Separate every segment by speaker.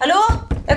Speaker 1: Hallo? Jeg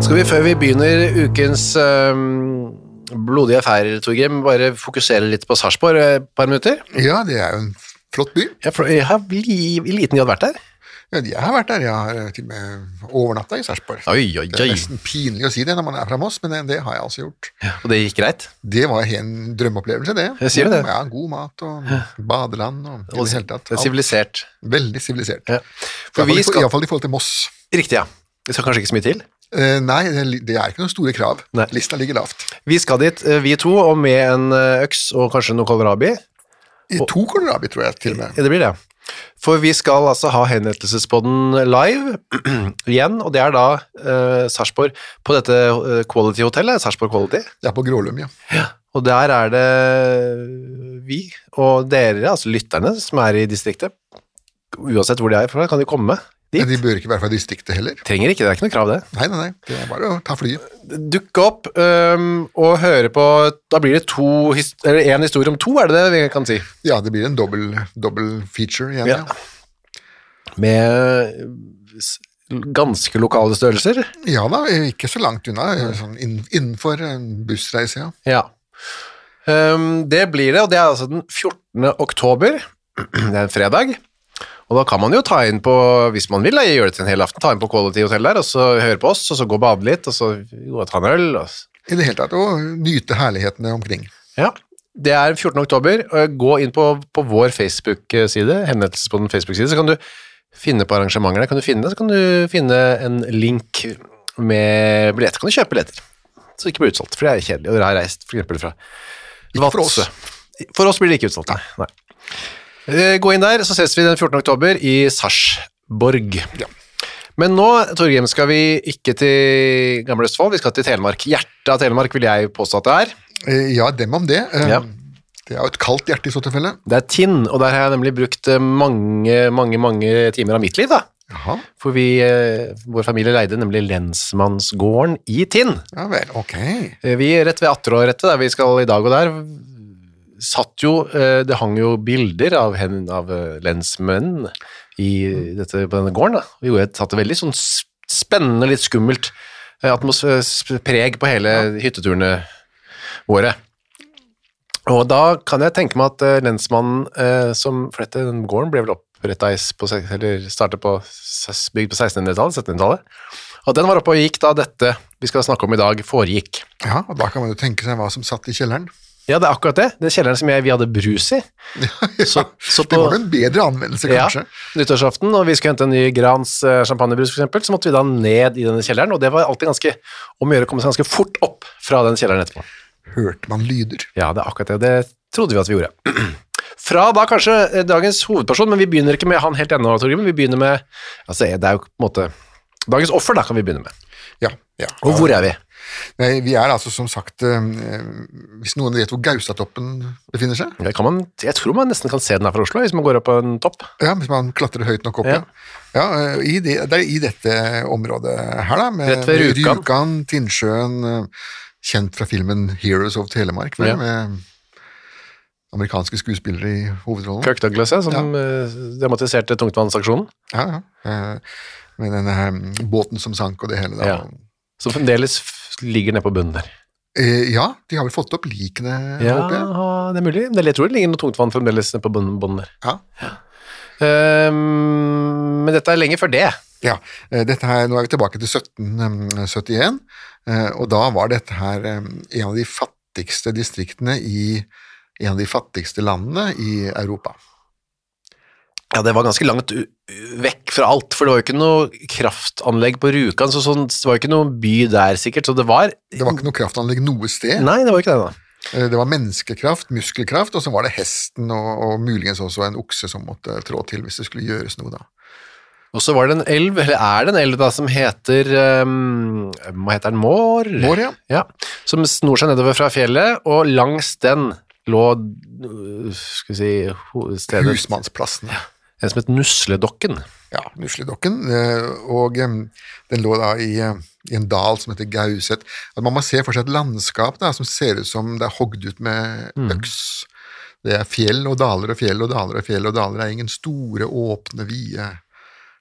Speaker 2: Skal vi, før vi begynner ukens øhm, blodige affærer, Torgrim, bare fokusere litt på Sarpsborg eh, et par minutter?
Speaker 3: Ja, det er jo en flott by.
Speaker 2: Jeg, for, jeg har li, i liten grad vært der.
Speaker 3: Ja, Jeg har vært der, jeg har eh, til og med overnatta i Sarpsborg.
Speaker 2: Oi, oi,
Speaker 3: Det er
Speaker 2: oi.
Speaker 3: nesten pinlig å si det når man er fra Moss, men det, det har jeg altså gjort.
Speaker 2: Og det gikk greit.
Speaker 3: Det var en drømmeopplevelse, det.
Speaker 2: Jeg sier det.
Speaker 3: Ja, God mat og badeland og i
Speaker 2: Og
Speaker 3: det hele tatt. Alt.
Speaker 2: sivilisert.
Speaker 3: Veldig sivilisert.
Speaker 2: Ja. For vi skal-
Speaker 3: Iallfall i forhold til Moss.
Speaker 2: Riktig, ja. Det skal kanskje ikke så mye til.
Speaker 3: Eh, nei, det er li- det er ikke noen store krav.
Speaker 2: Nei.
Speaker 3: Lista ligger lavt.
Speaker 2: Vi skal dit, eh, vi to, og med en eh, øks og kanskje noe kålrabi.
Speaker 3: I to kålrabi, tror jeg, til og med.
Speaker 2: Ja, det blir det. For vi skal altså ha henrettelsespodden live igjen, og det er da eh, Sarpsborg på dette eh, Quality-hotellet, Sarpsborg Quality.
Speaker 3: Det er på Grålum, ja.
Speaker 2: Og der er det vi og dere, altså lytterne, som er i distriktet. Uansett hvor de er fra, kan de komme dit.
Speaker 3: Men de bør ikke være fra distriktet heller.
Speaker 2: Trenger ikke, det er ikke noe krav det.
Speaker 3: Nei, nei, nei. Det er bare å ta flyet.
Speaker 2: Dukke opp øhm, og høre på, da blir det to, his- eller en historie om to, er det det vi kan si?
Speaker 3: Ja, det blir en dobbel dobbel feature igjen,
Speaker 2: Ja.
Speaker 3: ja.
Speaker 2: Med s- ganske lokale størrelser.
Speaker 3: Ja da, ikke så langt unna. Sånn inn- innenfor en bussreise, ja.
Speaker 2: Ja. Ehm, det blir det, og det er altså den 14. oktober. Det er en fredag. Og da kan man jo ta inn på, hvis man vil, da, gjøre det til en hel aften, ta inn på Quality Hotel der, og så høre på oss, og så gå og bade litt, og så gå og ta en øl. Og... s-
Speaker 3: I det hele tatt, og nyte herlighetene omkring.
Speaker 2: Ja. Det er 14. oktober. og Gå inn på, på vår Facebook-side, henvendelses på den Facebook-siden, så kan du finne på arrangementer der. Kan du finne det, så kan du finne en link med billetter. Kan du kjøpe billetter, så det ikke blir utsolgt, for det er kjedelig. Og dere har reist for eksempel fra
Speaker 3: Ikke for oss.
Speaker 2: Vadsø. For oss blir det ikke utsolgt, nei. nei. Eh, Gå inn der, så ses vi den 14. oktober i Sarpsborg. Men nå, Torgrim, skal vi ikke til Gamle Østfold, vi skal til Telemark. Hjertet av Telemark vil jeg påstå at det er.
Speaker 3: Eh, Ja, dem om det. Eh,
Speaker 2: Ja.
Speaker 3: Det er jo et kaldt hjerte i så tilfelle.
Speaker 2: Det er Tinn, og der har jeg nemlig brukt eh, mange, mange, mange timer av mitt liv, da.
Speaker 3: Jaha,
Speaker 2: For vi, eh, vår familie leide nemlig lensmannsgården i Tinn.
Speaker 3: ja vel, ok.
Speaker 2: Eh, Vi rett ved Atterårettet, der vi skal i dag og der, satt jo eh, Det hang jo bilder av, hen, av eh, lensmenn i dette, på denne gården, da. Vi gjorde et, satte veldig sånn s- spennende, litt skummelt eh, atmos- eh, sp- preg på hele hytteturene våre. Og da kan jeg tenke meg at eh, lensmannen eh, som For dette den gården ble vel oppretta på se- Eller startet på s- bygd på 1600-tallet, 1700-tallet. Og den var oppe og gikk da dette vi skal snakke om i dag, foregikk.
Speaker 3: Ja, og da kan man jo tenke seg hva som satt i kjelleren.
Speaker 2: Ja, det er akkurat det. Den kjelleren som jeg, vi hadde brus i. Så, så
Speaker 3: Det
Speaker 2: på
Speaker 3: var jo en bedre anvendelse,
Speaker 2: ja,
Speaker 3: kanskje.
Speaker 2: nyttårsaften, og vi skulle hente en ny Grans eh, champagnebrus, for eksempel, så måtte vi da ned i denne kjelleren, og det var alltid ganske om å gjøre å komme seg ganske fort opp fra den kjelleren etterpå.
Speaker 3: Hørte man lyder.
Speaker 2: Ja, det er akkurat det. Det trodde vi at vi gjorde. Fra da kanskje eh, dagens hovedperson, men vi begynner ikke med han helt ennå, Torgrim. Vi begynner med altså, det er jo på en måte Dagens offer, da, kan vi begynne med.
Speaker 3: Ja, ja.
Speaker 2: Og hvor er vi?
Speaker 3: Nei, vi er altså som sagt eh, Hvis noen vet hvor Gaustatoppen befinner seg?
Speaker 2: Det kan man, jeg tror man nesten kan se den her fra Oslo, hvis man går opp på en topp.
Speaker 3: Ja, Hvis man klatrer høyt nok opp, ja. ja. eh, i det, det er i dette området her, da. Med,
Speaker 2: Rett ved
Speaker 3: med
Speaker 2: Rjukan.
Speaker 3: Tinnsjøen. eh, Kjent fra filmen 'Heroes of Telemark', vel,
Speaker 2: Ja.
Speaker 3: med amerikanske skuespillere i hovedrollen.
Speaker 2: Kirk Douglas, ja, som eh, dramatiserte tungtvannsaksjonen.
Speaker 3: Ja, ja. eh, Med denne eh, båten som sank og det hele. Da.
Speaker 2: Ja. Som fremdeles f- ligger nede på bunnen der.
Speaker 3: Eh, ja, de har vel fått opp likene, håper jeg.
Speaker 2: det er mulig. Men Jeg tror det ligger noe tungtvann fremdeles nede på bunnen, bunnen der.
Speaker 3: Ja.
Speaker 2: Ehm, men dette er lenge før det.
Speaker 3: Ja, eh, dette her, nå er vi tilbake til 1771, eh, og da var dette her eh, en av de fattigste distriktene i en av de fattigste landene i Europa.
Speaker 2: Ja, det var ganske langt u- u- vekk fra alt, for det var jo ikke noe kraftanlegg på Rjukan, så sånn, det var jo ikke noen by der sikkert, så det var
Speaker 3: Det var ikke noe kraftanlegg noe sted.
Speaker 2: Nei, det var jo ikke det, da.
Speaker 3: Eh, Det var menneskekraft, muskelkraft, og så var det hesten og, og muligens også en okse som måtte trå til hvis det skulle gjøres noe da.
Speaker 2: Og så var det en elv, eller er det en elv da, som heter ehm, Hva heter den? Mår?
Speaker 3: Mår, ja.
Speaker 2: Ja, som snor seg nedover fra fjellet, og langs den lå øh, skal vi si, ho- stedet
Speaker 3: Husmannsplassen.
Speaker 2: En som het Nusledokken.
Speaker 3: Ja, Nusledokken. eh, Og eh, den lå da i, eh, i en dal som heter Gauset. At man må se for seg et landskap da, som ser ut som det er hogd ut med
Speaker 2: Mm.
Speaker 3: øks. Det er fjell og daler og fjell og daler og fjell og daler. Det er ingen store, åpne, vide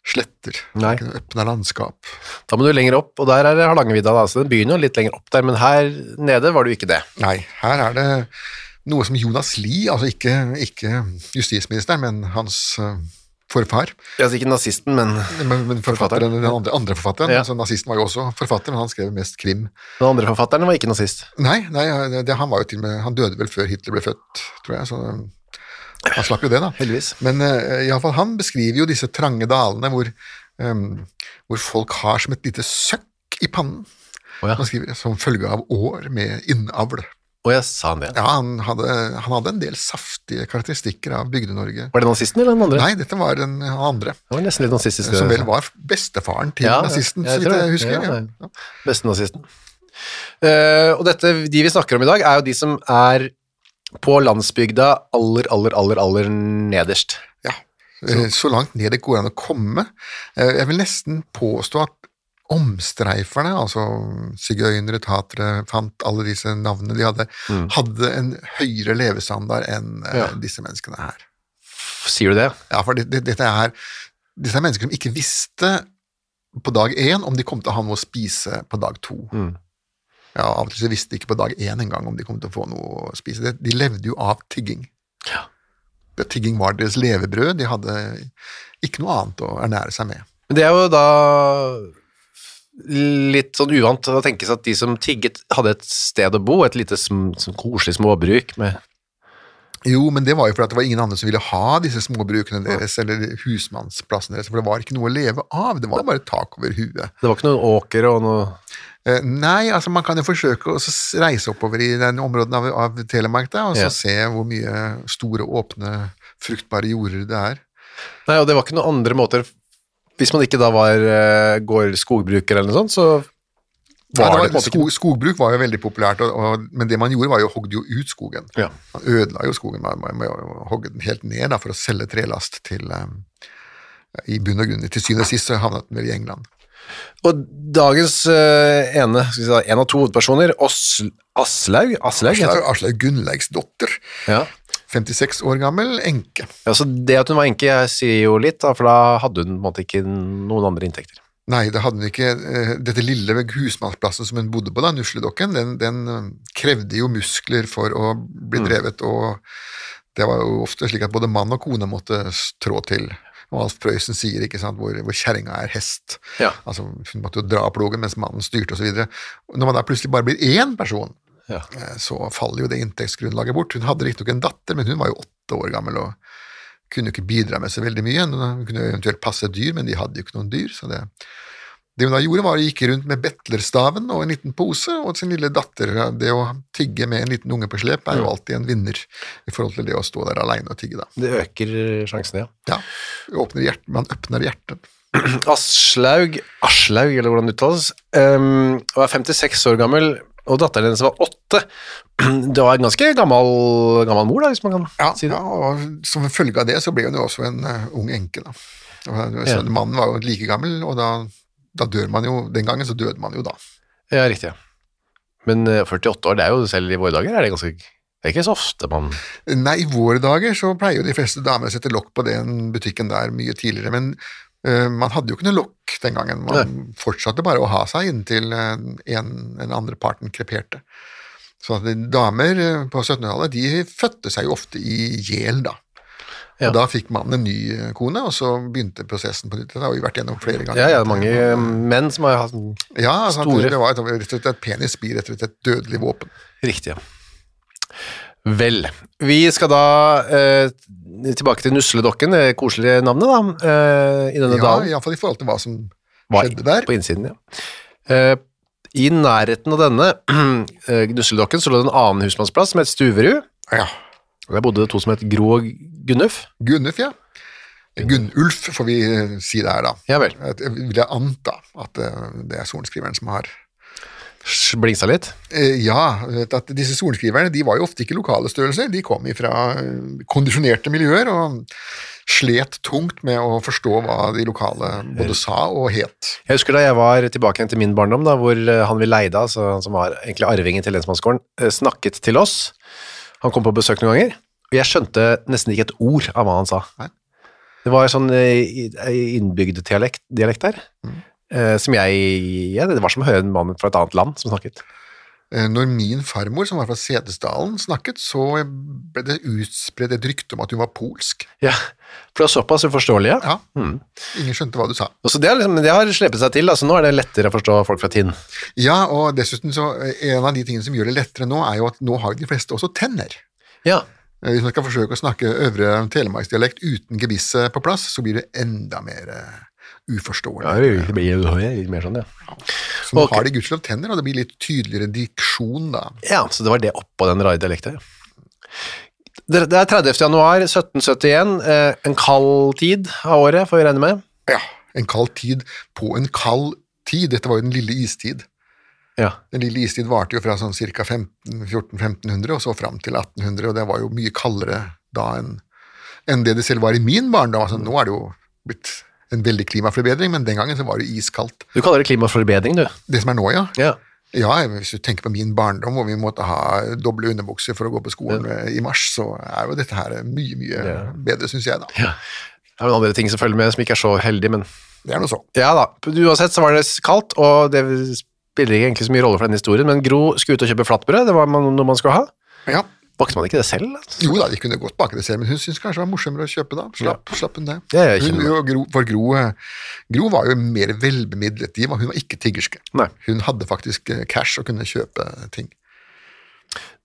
Speaker 3: sletter. Det
Speaker 2: Nei.
Speaker 3: er Ikke noe åpna landskap.
Speaker 2: Da må du lenger opp, og der er det Hardangervidda, da, så den begynner jo litt lenger opp der, men her nede var det jo ikke det.
Speaker 3: Nei, her er det noe som Jonas Lie, altså ikke, ikke justisministeren, men hans eh, forfar,
Speaker 2: Altså ikke nazisten, men
Speaker 3: men, men forfatteren, den andre, andre forfatteren,
Speaker 2: Ja.
Speaker 3: altså nazisten var jo også forfatter, men han skrev mest krim.
Speaker 2: den andre forfatteren var ikke nazist.
Speaker 3: Nei, nei det, det- han, var jo til og med, han døde vel før Hitler ble født, tror jeg, så um, han slapp jo det, da.
Speaker 2: Heldigvis.
Speaker 3: Men eh, i alle fall, han beskriver jo disse trange dalene hvor, um, hvor folk har som et lite søkk i pannen.
Speaker 2: Å ja.
Speaker 3: Han skriver som følge av år med innavl.
Speaker 2: Å ja, sa han det?
Speaker 3: Ja, han hadde, han hadde en del saftige karakteristikker av Bygde-Norge.
Speaker 2: Var det nazisten eller den andre?
Speaker 3: Nei, dette var den andre,
Speaker 2: Det var nesten litt nazistisk. eh,
Speaker 3: som vel var bestefaren til
Speaker 2: Ja, ja.
Speaker 3: nazisten,
Speaker 2: Jeg
Speaker 3: så vidt
Speaker 2: tror det.
Speaker 3: jeg husker.
Speaker 2: Ja,
Speaker 3: Ja,
Speaker 2: ja. Bestenazisten. Eh, og dette, de vi snakker om i dag, er jo de som er på landsbygda aller, aller, aller, aller nederst.
Speaker 3: Ja, eh, så langt ned det går an å komme. Eh, Jeg vil nesten påstå at omstreiferne, altså sigøynere, tatere, fant alle disse navnene de hadde, hadde en høyere levestandard enn eh,
Speaker 2: Ja.
Speaker 3: disse menneskene her.
Speaker 2: Sier du det?
Speaker 3: Ja, for det, det, dette, er, dette er mennesker som ikke visste på dag én om de kom til å ha noe å spise på dag to. Ja, Av og til så visste de ikke på dag én engang om de kom til å få noe å spise. De, de levde jo av tigging. Det, tigging var deres levebrød. De hadde ikke noe annet å ernære seg med.
Speaker 2: Men det er jo da litt sånn uvant å tenke seg at de som tigget, hadde et sted å bo, et lite sm sånn koselig småbruk med
Speaker 3: Jo, men det var jo fordi det var ingen andre som ville ha disse småbrukene deres, eller husmannsplassen deres, for det var ikke noe å leve av. Det var bare tak over huet.
Speaker 2: Det var ikke noen åker og noe
Speaker 3: Eh, Nei, altså man kan jo forsøke å s- reise oppover i den områden av, av Telemark da, og så
Speaker 2: Ja.
Speaker 3: se hvor mye store, åpne, fruktbare jorder det er.
Speaker 2: Nei, og det var ikke noen andre måter Hvis man ikke da var eh, går skogbruker eller noe sånt, så var det,
Speaker 3: Ja, det
Speaker 2: på en
Speaker 3: var,
Speaker 2: måte ikke
Speaker 3: skog, skogbruk var jo veldig populært, og, og, men det man gjorde var jo å hogde jo ut skogen.
Speaker 2: Ja.
Speaker 3: Man ødela jo skogen med, med, med å hogge den helt ned da, for å selge trelast til um, i bunn og grunn. Til syvende og sist så havnet den vel i England.
Speaker 2: Og dagens eh, ene, skal vi si, da, en av to hovedpersoner, Os Aslaug Aslaug, heter
Speaker 3: Aslaug Aslaug Gunnleigsdotter,
Speaker 2: hun. ja.
Speaker 3: 56 år gammel, enke.
Speaker 2: ja, så det at hun var enke jeg sier jo litt, da, for da hadde hun på en måte ikke noen andre inntekter.
Speaker 3: Nei, det hadde hun ikke. Eh, Dette lille husmannsplassen som hun bodde på, da, Nusledokken, den, den eh, krevde jo muskler for å bli
Speaker 2: Mm.
Speaker 3: drevet, og det var jo ofte slik at både mann og kone måtte s- trå til. Og Alf Prøysen sier ikke sant, hvor, hvor kjerringa er hest.
Speaker 2: Ja.
Speaker 3: Altså, hun måtte jo dra plogen mens mannen styrte osv. Når man da plutselig bare blir én person,
Speaker 2: Ja.
Speaker 3: eh, så faller jo det inntektsgrunnlaget bort. Hun hadde riktignok en datter, men hun var jo åtte år gammel og kunne ikke bidra med så veldig mye. Hun kunne eventuelt passe et dyr, men de hadde jo ikke noen dyr. så det... Det hun da gjorde, var å gikk rundt med betlerstaven og en liten pose, og sin lille datter Det å tigge med en liten unge på slep er jo
Speaker 2: Mm.
Speaker 3: alltid en vinner i forhold til det å stå der aleine og tigge, da.
Speaker 2: Det øker sjansene, ja.
Speaker 3: Ja. Åpner hjert- man åpner hjertet.
Speaker 2: Aslaug, Aslaug, eller hvordan det uttales, um, og er 56 år gammel, og datteren hennes var 8. Det var en ganske gammel, gammel mor, da, hvis man kan
Speaker 3: Ja,
Speaker 2: si det.
Speaker 3: ja, og som en følge av det så ble hun jo også en eh, ung enke. da. Og, eh,
Speaker 2: Ja.
Speaker 3: så Mannen var jo like gammel, og da, da dør man jo Den gangen så døde man jo da.
Speaker 2: Ja, riktig. ja. Men eh, 48 år, det er jo selv i våre dager, er det ganske Det er ikke så ofte man
Speaker 3: Nei, i våre dager så pleier jo de fleste damer å sette lokk på den butikken der mye tidligere, men eh, man hadde jo ikke noe lokk den gangen. Man fortsatte bare å ha seg inntil eh, en, den andre parten kreperte. Så at damer eh, på 1700-tallet de fødte seg jo ofte i gjel, da.
Speaker 2: Ja.
Speaker 3: Og da fikk mannen en ny eh, kone, og så begynte prosessen på nytt. Det har vi vært gjennom flere ganger.
Speaker 2: Ja, ja, mange eh, menn som har hatt
Speaker 3: Ja, altså, at
Speaker 2: store-
Speaker 3: det var et, rett og slett et penisbi, rett og slett et dødelig våpen.
Speaker 2: Riktig, ja. Vel, vi skal da eh, tilbake til Nusledokken, det koselige navnet, da, eh, i denne
Speaker 3: Ja,
Speaker 2: dalen.
Speaker 3: Iallfall i forhold til hva som
Speaker 2: Var
Speaker 3: skjedde der.
Speaker 2: På innsiden, ja. Eh, I nærheten av denne eh, Nusledokken så lå det en annen husmannsplass som het Stuverud.
Speaker 3: Ja,
Speaker 2: Der bodde det to som het Gro og Gunnulf.
Speaker 3: Gunnulf, ja. Gunnulf, får vi eh, si det her, da.
Speaker 2: Ja vel.
Speaker 3: At- Jeg vil anta at eh, det er sorenskriveren som har
Speaker 2: Blingsa litt.
Speaker 3: Eh, Ja, vet at disse sorenskriverne de var jo ofte ikke lokale størrelser. De kom fra kondisjonerte miljøer og slet tungt med å forstå hva de lokale både sa og het.
Speaker 2: Jeg husker da jeg var tilbake igjen til min barndom, da, hvor eh, han vi leide, altså, han som var egentlig arvingen til lensmannsgården, eh, snakket til oss. Han kom på besøk noen ganger, og jeg skjønte nesten ikke et ord av hva han sa.
Speaker 3: Nei.
Speaker 2: Det var sånn eh, i- i- innbygd dialekt, dialekt der,
Speaker 3: Mm.
Speaker 2: eh, som jeg ja, Det var som å høre en mann fra et annet land som snakket.
Speaker 3: Eh, Når min farmor, som var fra Setesdalen, snakket, så ble det utspredt et rykte om at hun var polsk.
Speaker 2: Ja, For det var såpass uforståelig, ja.
Speaker 3: Ja, Ingen skjønte hva du sa.
Speaker 2: Og så det, har liksom, det har slepet seg til, da, så nå er det lettere å forstå folk fra Tinn.
Speaker 3: Ja, og dessuten så eh, En av de tingene som gjør det lettere nå, er jo at nå har de fleste også tenner.
Speaker 2: Ja.
Speaker 3: Eh, Hvis man skal forsøke å snakke øvre telemarksdialekt uten gebisset på plass, så blir det enda mer eh, uforståelig.
Speaker 2: det blir litt mer sånn, ja.
Speaker 3: så nå
Speaker 2: ok.
Speaker 3: har de gudskjelov tenner, og det blir litt tydeligere diksjon da.
Speaker 2: Ja, så det var det oppå den rare dialekten. ja. Det det er 30. januar 1771, eh, en kald tid av året, får vi regne med.
Speaker 3: Ja, En kald tid på en kald tid. Dette var jo den lille istid.
Speaker 2: Ja,
Speaker 3: Den lille istid varte jo fra sånn ca. 1400-1500 og så fram til 1800, og det var jo mye kaldere da enn enn det det selv var i min barndom. Altså, nå er det jo blitt en veldig klimaforbedring, men den gangen så var det iskaldt.
Speaker 2: Du kaller det klimaforbedring, du.
Speaker 3: Det som er nå, ja.
Speaker 2: Ja.
Speaker 3: Ja, Hvis du tenker på min barndom, hvor vi måtte ha doble underbukser for å gå på skolen eh, i mars, så er jo dette her mye, mye bedre, syns jeg, da.
Speaker 2: Det er noen andre ting som følger med, som ikke er så heldig, men
Speaker 3: Det er nå så.
Speaker 2: Ja da. Uansett så var det kaldt, og det spiller ikke egentlig så mye rolle for denne historien, men Gro skulle ut og kjøpe flatbrød, det var man- noe man skulle ha.
Speaker 3: Ja.
Speaker 2: Bakte man ikke det selv? altså?
Speaker 3: Jo da, de kunne godt bake det selv, men hun syntes kanskje det var morsommere å kjøpe da. Slapp, slapp hun det.
Speaker 2: Ja, jeg
Speaker 3: hun,
Speaker 2: kjenner
Speaker 3: jo, Gro, for Gro, eh, Gro var jo mer velbemidlet. De var, hun var ikke tiggerske.
Speaker 2: Nei.
Speaker 3: Hun hadde faktisk eh, cash og kunne kjøpe ting.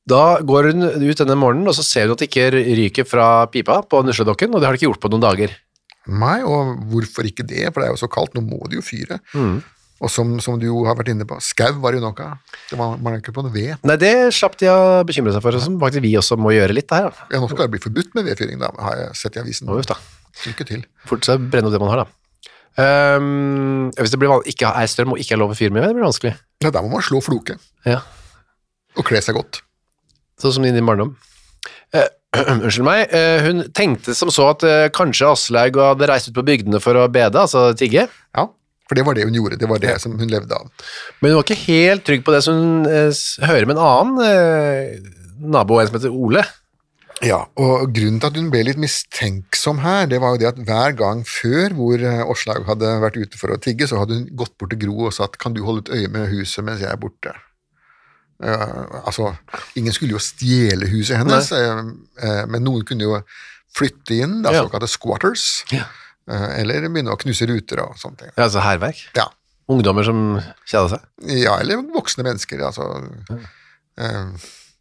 Speaker 2: Da går hun ut denne morgenen, og så ser hun at det ikke ryker fra pipa på nusledokken, og det har det ikke gjort på noen dager.
Speaker 3: Nei, og hvorfor ikke det? For det er jo så kaldt, nå må du jo fyre.
Speaker 2: Mm.
Speaker 3: Og som, som du jo har vært inne på, skau var det jo nok av. Det var manglet ikke på noe ved.
Speaker 2: Nei, det slapp de å bekymre seg for, og som faktisk vi også må gjøre litt der. da.
Speaker 3: Ja, nå skal det bli forbudt med vedfyring, da, har jeg sett i avisen.
Speaker 2: Nå, uff da.
Speaker 3: Lykke til.
Speaker 2: Fort seg brenne opp det man har, da. Ehm, hvis det blir van- ikke er strøm og ikke er lov å fyre med, det blir vanskelig.
Speaker 3: Ja, da må man slå floke
Speaker 2: Ja.
Speaker 3: og kle seg godt.
Speaker 2: Sånn som din barndom. Eh, unnskyld meg. eh, hun tenkte som så at eh, kanskje Aslaug hadde reist ut på bygdene for å bede, altså tigge.
Speaker 3: Ja, for det var det hun gjorde, det var det som hun levde av.
Speaker 2: Men hun var ikke helt trygg på det, så hun eh, s- hører med en annen eh, nabo, en som heter Ole.
Speaker 3: Ja, og grunnen til at hun ble litt mistenksom her, det var jo det at hver gang før hvor eh, Åslaug hadde vært ute for å tigge, så hadde hun gått bort til Gro og sagt 'kan du holde et øye med huset mens jeg er borte'? Eh, altså, ingen skulle jo stjele huset hennes, eh, eh, men noen kunne jo flytte inn, da,
Speaker 2: Ja.
Speaker 3: såkalte squatters,
Speaker 2: Ja.
Speaker 3: eh, eller begynne å knuse ruter og sånne ting.
Speaker 2: Ja, altså hærverk.
Speaker 3: Ja.
Speaker 2: Ungdommer som kjeda seg.
Speaker 3: Ja, eller voksne mennesker. Altså, eh,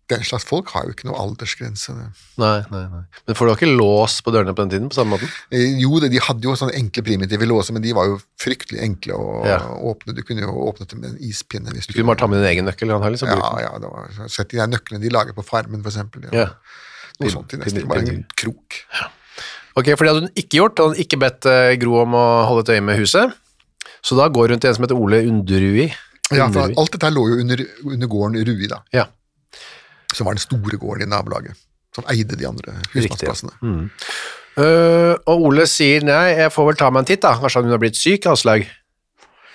Speaker 3: den slags folk har jo ikke noe aldersgrense.
Speaker 2: Nei, nei, nei. Men får du ikke lås på dørene på den tiden på samme måten?
Speaker 3: Eh, Jo, det- de hadde jo sånne enkle primitive låser, men de var jo fryktelig enkle å
Speaker 2: Ja.
Speaker 3: åpne. Du kunne jo åpnet dem med en ispinne. hvis
Speaker 2: Du kunne bare ta med din egen nøkkel, antagelig. så
Speaker 3: ja,
Speaker 2: bruker
Speaker 3: ja, det var, Sett de der nøklene de lager på Farmen, for eksempel.
Speaker 2: den.
Speaker 3: Ja.
Speaker 2: Ja.
Speaker 3: Noe sånt i nesten.
Speaker 2: pin-
Speaker 3: Bare en
Speaker 2: pinner.
Speaker 3: krok.
Speaker 2: Ok, for det hadde hun ikke gjort, og hun hadde ikke bedt eh, Gro om å holde et øye med huset. Så da går hun til en som heter Ole Underui.
Speaker 3: Ja, for alt dette her lå jo under, under gården Rui, da,
Speaker 2: Ja.
Speaker 3: som var den store gården i nabolaget. Som eide de andre husmannsplassene.
Speaker 2: Mm. Eh, og Ole sier nei, jeg får vel ta meg en titt da, kanskje hun har blitt syk, Aslaug.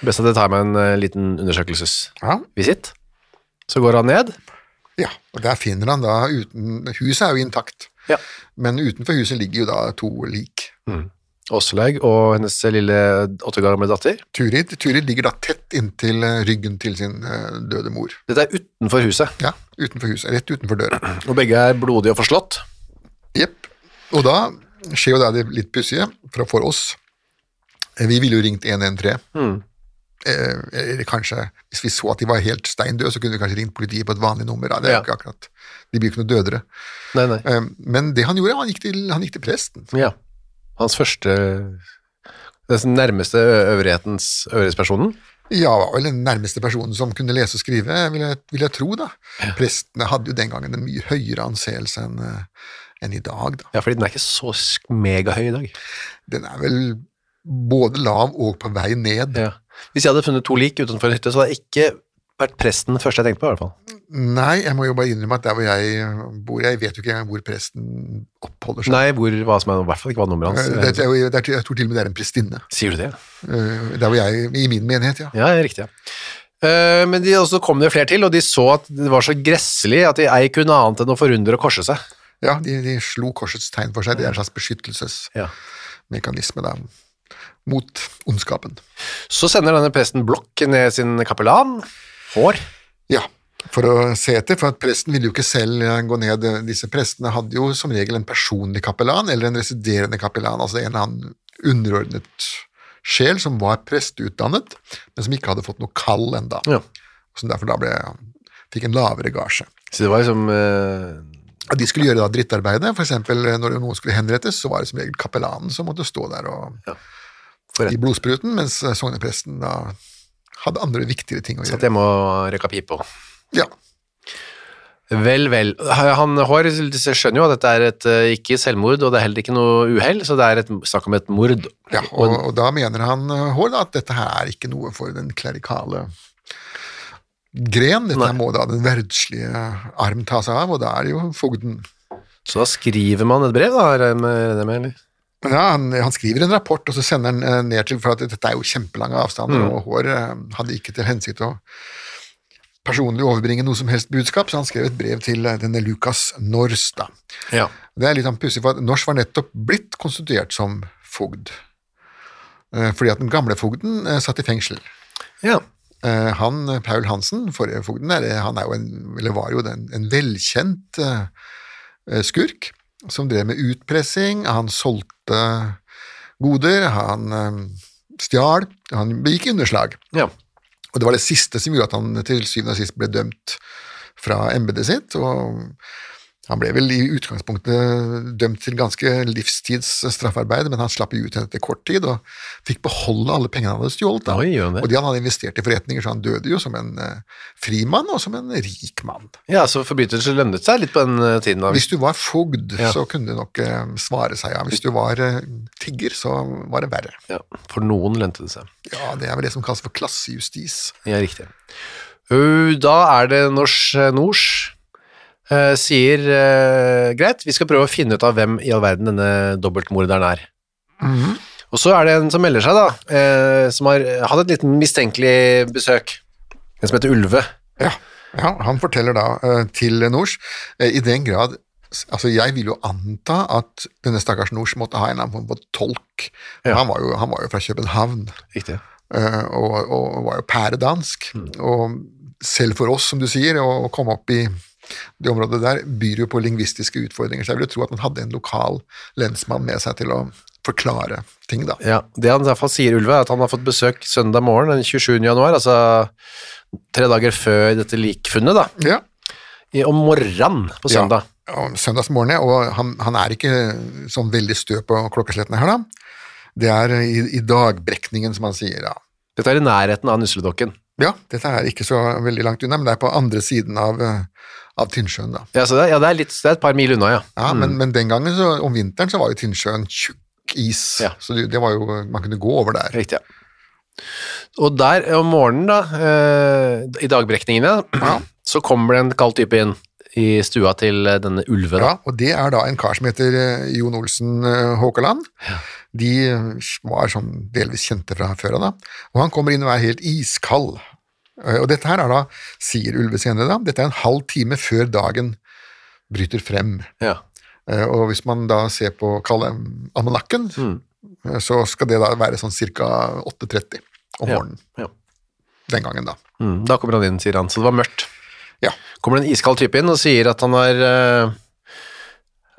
Speaker 2: Best at jeg tar meg en eh, liten undersøkelsesvisitt.
Speaker 3: Ja.
Speaker 2: Så går han ned.
Speaker 3: ja, og der finner han da uten, Huset er jo intakt,
Speaker 2: Ja.
Speaker 3: men utenfor huset ligger jo da to lik.
Speaker 2: Aslaug og hennes lille åtte år gamle datter.
Speaker 3: Turid, Turid ligger da tett inntil eh, ryggen til sin eh, døde mor.
Speaker 2: Dette er utenfor huset,
Speaker 3: Ja, utenfor huset, rett utenfor døra.
Speaker 2: og begge er blodige og forslått.
Speaker 3: Jepp. Og da skjer jo da det litt pussige for, for oss. eh, Vi ville jo ringt 113. Eh, eller kanskje, hvis vi så at de var helt stein døde, så kunne vi kanskje ringt politiet på et vanlig nummer. Da. Det er
Speaker 2: Ja.
Speaker 3: jo ikke akkurat. De blir jo ikke noe dødere.
Speaker 2: Nei, nei.
Speaker 3: Eh, men det han gjorde, han gikk til, han gikk til presten.
Speaker 2: Ja. Hans første Den nærmeste ø- øvrighetens øvrighetspersonen.
Speaker 3: Ja, var vel den nærmeste personen som kunne lese og skrive, vil jeg, vil jeg tro, da. Prestene hadde jo den gangen en mye høyere anseelse enn eh, enn i dag, da.
Speaker 2: Ja, fordi den er ikke så sk- megahøy i dag.
Speaker 3: Den er vel både lav og på vei ned.
Speaker 2: Hvis jeg hadde funnet to lik utenfor en hytte, så hadde jeg ikke vært presten den første jeg tenkte på, i hvert fall.
Speaker 3: Nei, jeg må jo bare innrømme at der hvor jeg bor, jeg vet jo ikke engang hvor presten oppholder seg.
Speaker 2: Nei, hvor, hva som er, i hvert fall ikke hva nummeret
Speaker 3: Eh,
Speaker 2: hans
Speaker 3: Det, det
Speaker 2: er.
Speaker 3: er jo, det er, jeg tror til og med det er en prestinne.
Speaker 2: Sier du det?
Speaker 3: Eh, Der hvor jeg, I min menighet, ja.
Speaker 2: Ja, ja, riktig. Ja. Eh, Men de, og så kom det flere til, og de så at det var så gresselig at de ei kunne annet enn å forundre og korse seg.
Speaker 3: ja de, de slo korsets tegn for seg. Det er en slags beskyttelsesmekanisme
Speaker 2: Ja.
Speaker 3: da, mot ondskapen.
Speaker 2: Så sender denne presten Blokk ned sin kapellan, Hår,
Speaker 3: Ja, for å se etter, for at presten ville jo ikke selv eh, gå ned. Disse prestene hadde jo som regel en personlig kapellan, eller en residerende kapellan, altså en eller annen underordnet sjel som var presteutdannet, men som ikke hadde fått noe kall enda.
Speaker 2: Ja.
Speaker 3: Som derfor da ble, fikk en lavere gasje.
Speaker 2: Så det var liksom eh,
Speaker 3: Og De skulle gjøre da drittarbeidet, for eksempel eh, når noen skulle henrettes, så var det som regel kapellanen som måtte stå der og,
Speaker 2: for
Speaker 3: i
Speaker 2: rett.
Speaker 3: blodspruten, mens eh, sognepresten da hadde andre viktigere ting å
Speaker 2: Satt
Speaker 3: gjøre.
Speaker 2: hjemme og røyka pipe og
Speaker 3: Ja,
Speaker 2: Vel, vel. Han Hår skjønner jo at dette er et, eh, ikke selvmord, og det er heller ikke noe uhell, så det er et, snakk om et mord.
Speaker 3: Ja, og, og da mener han eh, Hår da, at dette her er ikke noe for den klerikale gren. Dette
Speaker 2: Nei.
Speaker 3: her må da den verdslige arm ta seg av, og da er det jo fogden.
Speaker 2: Så da skriver man et brev, da? Er det med, det med, eller?
Speaker 3: Men Ja, han, han skriver en rapport, og så sender han eh, ned til For at dette er jo kjempelange avstander, og Hår eh, hadde ikke til hensikt å personlig overbringe noe som helst budskap, så han skrev et brev til eh, denne Lukas Nors, da.
Speaker 2: Ja.
Speaker 3: Det er litt sånn pussig, for at Nors var nettopp blitt konstituert som fogd. Eh, Fordi at den gamle fogden eh, satt i fengsel.
Speaker 2: ja.
Speaker 3: Eh, han, eh, Paul Hansen, forrige fogden, er, han er jo en, eller var jo den, en velkjent eh, eh, skurk som drev med utpressing. Han solgte goder, han eh, stjal, han begikk underslag.
Speaker 2: ja.
Speaker 3: Og det var det siste som gjorde at han til syvende og sist ble dømt fra embetet sitt. og Han ble vel i utgangspunktet dømt til ganske livstids straffarbeid, men han slapp jo ut igjen etter kort tid og fikk beholde alle pengene han hadde stjålet. da.
Speaker 2: Oi, gjør han det?
Speaker 3: og de han hadde investert i forretninger, så han døde jo som en eh, frimann og som en rik mann.
Speaker 2: ja, så forbrytelser lønnet seg litt på den eh, tiden. Da.
Speaker 3: Hvis du var fogd,
Speaker 2: Ja.
Speaker 3: så kunne det nok eh, svare seg ja. Hvis du var eh, tigger, så var det verre.
Speaker 2: Ja, for noen lønte det seg.
Speaker 3: Ja, det er vel det som kalles for klassejustis.
Speaker 2: Ja, riktig. Uh, Da er det Nors eh, Nors eh, sier eh, greit, vi skal prøve å finne ut av hvem i all verden denne dobbeltmorderen er. Og så er det en som melder seg, da, eh, som har hatt et liten mistenkelig besøk. En som heter Ulve.
Speaker 3: Ja, ja han forteller da eh, til Nors, eh, i den grad Altså, jeg vil jo anta at denne stakkars Nors måtte ha en eller annen form for tolk.
Speaker 2: Ja.
Speaker 3: Han, var jo, han var jo fra København
Speaker 2: Riktig.
Speaker 3: eh, og, og var jo pæredansk. Og selv for oss, som du sier, å, å komme opp i det området der, byr jo på lingvistiske utfordringer. Så jeg ville tro at han hadde en lokal lensmann med seg til å forklare ting, da.
Speaker 2: Ja, Det han i hvert fall sier, Ulve, er at han har fått besøk søndag morgen den 27. januar, altså tre dager før dette likfunnet, da.
Speaker 3: Ja.
Speaker 2: I- Om morgenen på søndag.
Speaker 3: Ja, om søndagsmorgen, ja, og han, han er ikke sånn veldig stø på klokkeslettene her, da. Det er i, i dagbrekningen, som han sier, ja.
Speaker 2: Dette er i nærheten av Nusledokken.
Speaker 3: Ja, dette er ikke så veldig langt unna, men det er på andre siden av, eh, av Tynnsjøen, da.
Speaker 2: Ja, så det, er- ja, det, er litt, det er et par mil unna, ja.
Speaker 3: Ja, men, men den gangen, så, om vinteren, så var jo Tynnsjøen tjukk is,
Speaker 2: Ja.
Speaker 3: så det, det var jo, man kunne gå over der.
Speaker 2: Riktig, ja. Og der om morgenen, da, eh, i dagbrekningene, så kommer det en kald type inn i stua til eh, denne ulven.
Speaker 3: Ja, og det er da en kar som heter eh, Jon Olsen eh, Håkaland. De eh, var sånn delvis kjente fra før av, da. Og han kommer inn og er helt iskald. Eh, Og dette her er da, sier Ulve senere, da, dette er en halv time før dagen bryter frem.
Speaker 2: Ja.
Speaker 3: Eh, Og hvis man da ser på kall det, almanakken,
Speaker 2: Mm.
Speaker 3: eh, så skal det da være sånn ca. 8.30 om
Speaker 2: Ja.
Speaker 3: morgenen
Speaker 2: Ja.
Speaker 3: den gangen, da.
Speaker 2: Mm, da kommer han inn, sier han. Så det var mørkt.
Speaker 3: Ja.
Speaker 2: Kommer det en iskald type inn og sier at han er eh,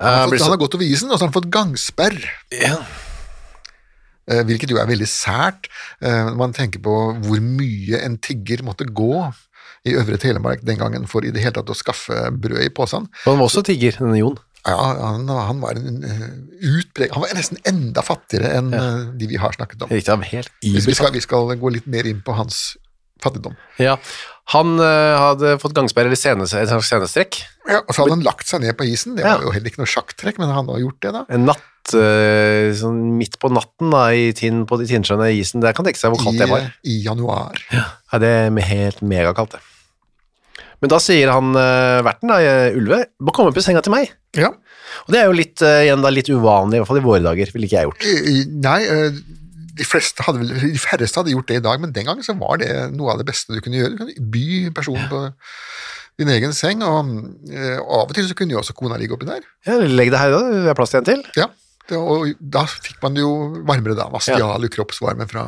Speaker 2: eh,
Speaker 3: Så
Speaker 2: blir
Speaker 3: han
Speaker 2: så,
Speaker 3: har gått over isen, og så har han fått gangsperr.
Speaker 2: ja.
Speaker 3: Eh, Hvilket jo er veldig sært eh, når man tenker på hvor mye en tigger måtte gå i Øvre Telemark den gangen for i det hele tatt å skaffe brød i posen.
Speaker 2: Han var også tigger, denne Jon.
Speaker 3: Ja, han, han var en eh, utpreg... Han var nesten enda fattigere enn eh, de vi har snakket om.
Speaker 2: Riktig, han var helt
Speaker 3: Vi
Speaker 2: iber.
Speaker 3: skal, vi skal gå litt mer inn på hans fattigdom.
Speaker 2: Ja. Han eh, hadde fått gangsperre eller senes, et slags senestrekk.
Speaker 3: Ja, og så hadde han lagt seg ned på isen. Det
Speaker 2: Ja.
Speaker 3: var jo heller ikke noe sjakktrekk, men han har gjort det, da.
Speaker 2: En natt, eh, sånn midt på natten da, i tinn, på de tinnsjøene i isen. Der kan tenke seg hvor
Speaker 3: I, eh,
Speaker 2: kaldt det var.
Speaker 3: I januar.
Speaker 2: Ja, det er me- helt megakaldt, det. Men da sier han eh, verten, da, eh, Ulve, må komme opp i senga til meg.
Speaker 3: Ja.
Speaker 2: Og det er jo litt, eh, igjen da, litt uvanlig, i hvert fall i våre dager, ville ikke jeg gjort.
Speaker 3: I- i- Nei, eh, de, fleste hadde vel, de færreste hadde gjort det i dag, men den gangen så var det noe av det beste du kunne gjøre. Du kunne by personen på din egen seng, og eh, av og til så kunne jo også kona ligge oppi der.
Speaker 2: Ja, legg deg her da, vi har plass til en til.
Speaker 3: Ja, det, og da fikk man det jo varmere da. Man stjal jo kroppsvarme fra,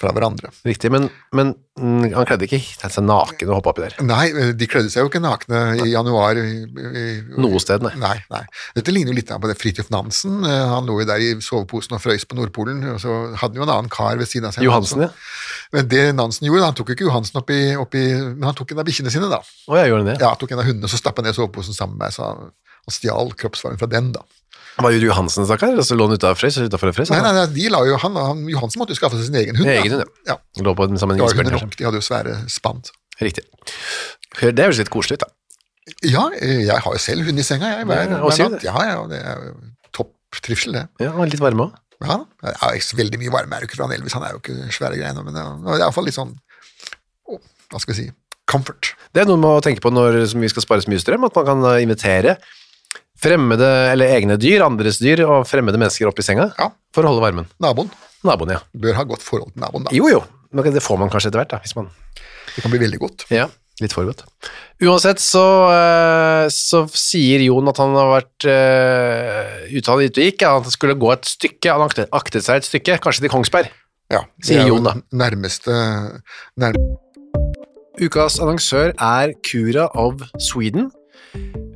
Speaker 3: fra hverandre.
Speaker 2: Riktig, men, men mm, han kledde ikke tatt seg naken og hoppet oppi der.
Speaker 3: Nei, eh, de kledde seg jo ikke nakne i januar. i- i-
Speaker 2: Noe sted, nei.
Speaker 3: Nei, nei. Dette ligner jo litt på det Fridtjof Nansen. Eh, Han lå jo der i soveposen og frøys på Nordpolen, og så hadde han jo en annen kar ved siden av seg.
Speaker 2: Johansen, ja.
Speaker 3: Men det Nansen gjorde, han tok jo ikke Johansen opp i, opp i Men han tok en av bikkjene sine, da.
Speaker 2: Å, jeg gjorde han det.
Speaker 3: Ja, han tok en av hundene, så stappa han ned soveposen sammen med meg, så han, han stjal kroppsvarmen fra den, da.
Speaker 2: Var jo Johansen, stakkar, og så lå han ute av frøs, utenfor frøs.
Speaker 3: Nei,
Speaker 2: han.
Speaker 3: nei, nei de la jo, han, han, Johansen måtte jo skaffe seg sin egen hund. da.
Speaker 2: Egen hund,
Speaker 3: ja.
Speaker 2: Lå på den sammen
Speaker 3: Det
Speaker 2: med
Speaker 3: var jo hunder
Speaker 2: isbjørn her.
Speaker 3: nok, de hadde jo svære spann. så.
Speaker 2: Riktig. Hør, det høres litt koselig ut, da.
Speaker 3: Ja, eh, jeg har jo selv hund i senga, jeg. Hver,
Speaker 2: Ja, og
Speaker 3: hver
Speaker 2: sier
Speaker 3: natt.
Speaker 2: det.
Speaker 3: Ja, ja, og det er jo topp trivsel, det.
Speaker 2: Ja, han var litt varme også.
Speaker 3: Ja, det er ikke så veldig mye varme er jo ikke fra han Elvis, han er jo ikke svære greiene, men det er det er i hvert fall litt sånn å, Hva skal vi si comfort.
Speaker 2: Det er noe med å tenke på når som vi skal spare så mye strøm, at man kan eh, invitere fremmede, eller egne dyr, andres dyr og fremmede mennesker opp i senga
Speaker 3: Ja.
Speaker 2: for å holde varmen.
Speaker 3: Naboen
Speaker 2: Naboen, ja.
Speaker 3: bør ha godt forhold til naboen, da.
Speaker 2: Jo, jo. Men Det får man kanskje etter hvert, da, hvis man
Speaker 3: Det kan bli veldig godt.
Speaker 2: Ja, litt for godt. Uansett så, eh, så sier Jon at han har vært eh, ute han ute og gikk, ja, at han skulle gå et stykke, han aktet, aktet seg et stykke, kanskje til Kongsberg.
Speaker 3: Ja, det
Speaker 2: Sier
Speaker 3: er jo
Speaker 2: Jon, da.
Speaker 3: Nærmeste nær,
Speaker 2: Ukas annonsør er Cura of Sweden.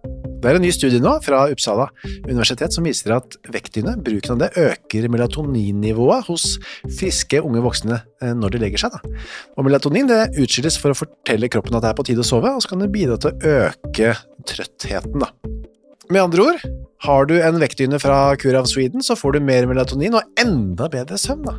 Speaker 2: Det er en ny studie nå fra Uppsala universitet som viser at vektdyne, bruken av det, øker melatoninnivået hos friske unge voksne eh, når de legger seg. Da. Og melatonin det utskilles for å fortelle kroppen at det er på tide å sove, og så kan det bidra til å øke trøttheten. Da. Med andre ord, har du en vektdyne fra Curav Sweden, så får du mer melatonin og enda bedre søvn. Da.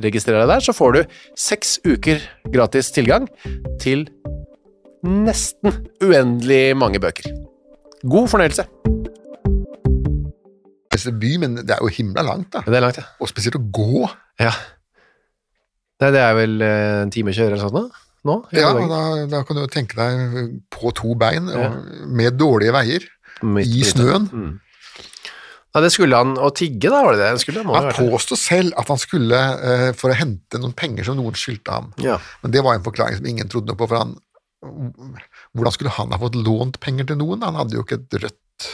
Speaker 2: Registrer deg der, så får du seks uker gratis tilgang til nesten uendelig mange bøker. God fornøyelse.
Speaker 3: Neste by, men det er jo himla langt, da.
Speaker 2: Det er langt, ja.
Speaker 3: Og spesielt å gå.
Speaker 2: ja. Nei, det er vel eh, en time å kjøre eller sånt da? nå? i
Speaker 3: Ja,
Speaker 2: dag.
Speaker 3: og da, da kan du jo tenke deg eh, på to bein, og med dårlige veier,
Speaker 2: Midt
Speaker 3: i
Speaker 2: på
Speaker 3: snøen.
Speaker 2: Nei, det skulle han å tigge da, var det det? Han skulle, må
Speaker 3: Han
Speaker 2: det ha vært
Speaker 3: påstod selv at han skulle eh, for å hente noen penger som noen skyldte ham.
Speaker 2: det. Ja.
Speaker 3: Men det var en forklaring som ingen trodde noe på, for han Hvordan skulle han ha fått lånt penger til noen? Han hadde jo ikke et rødt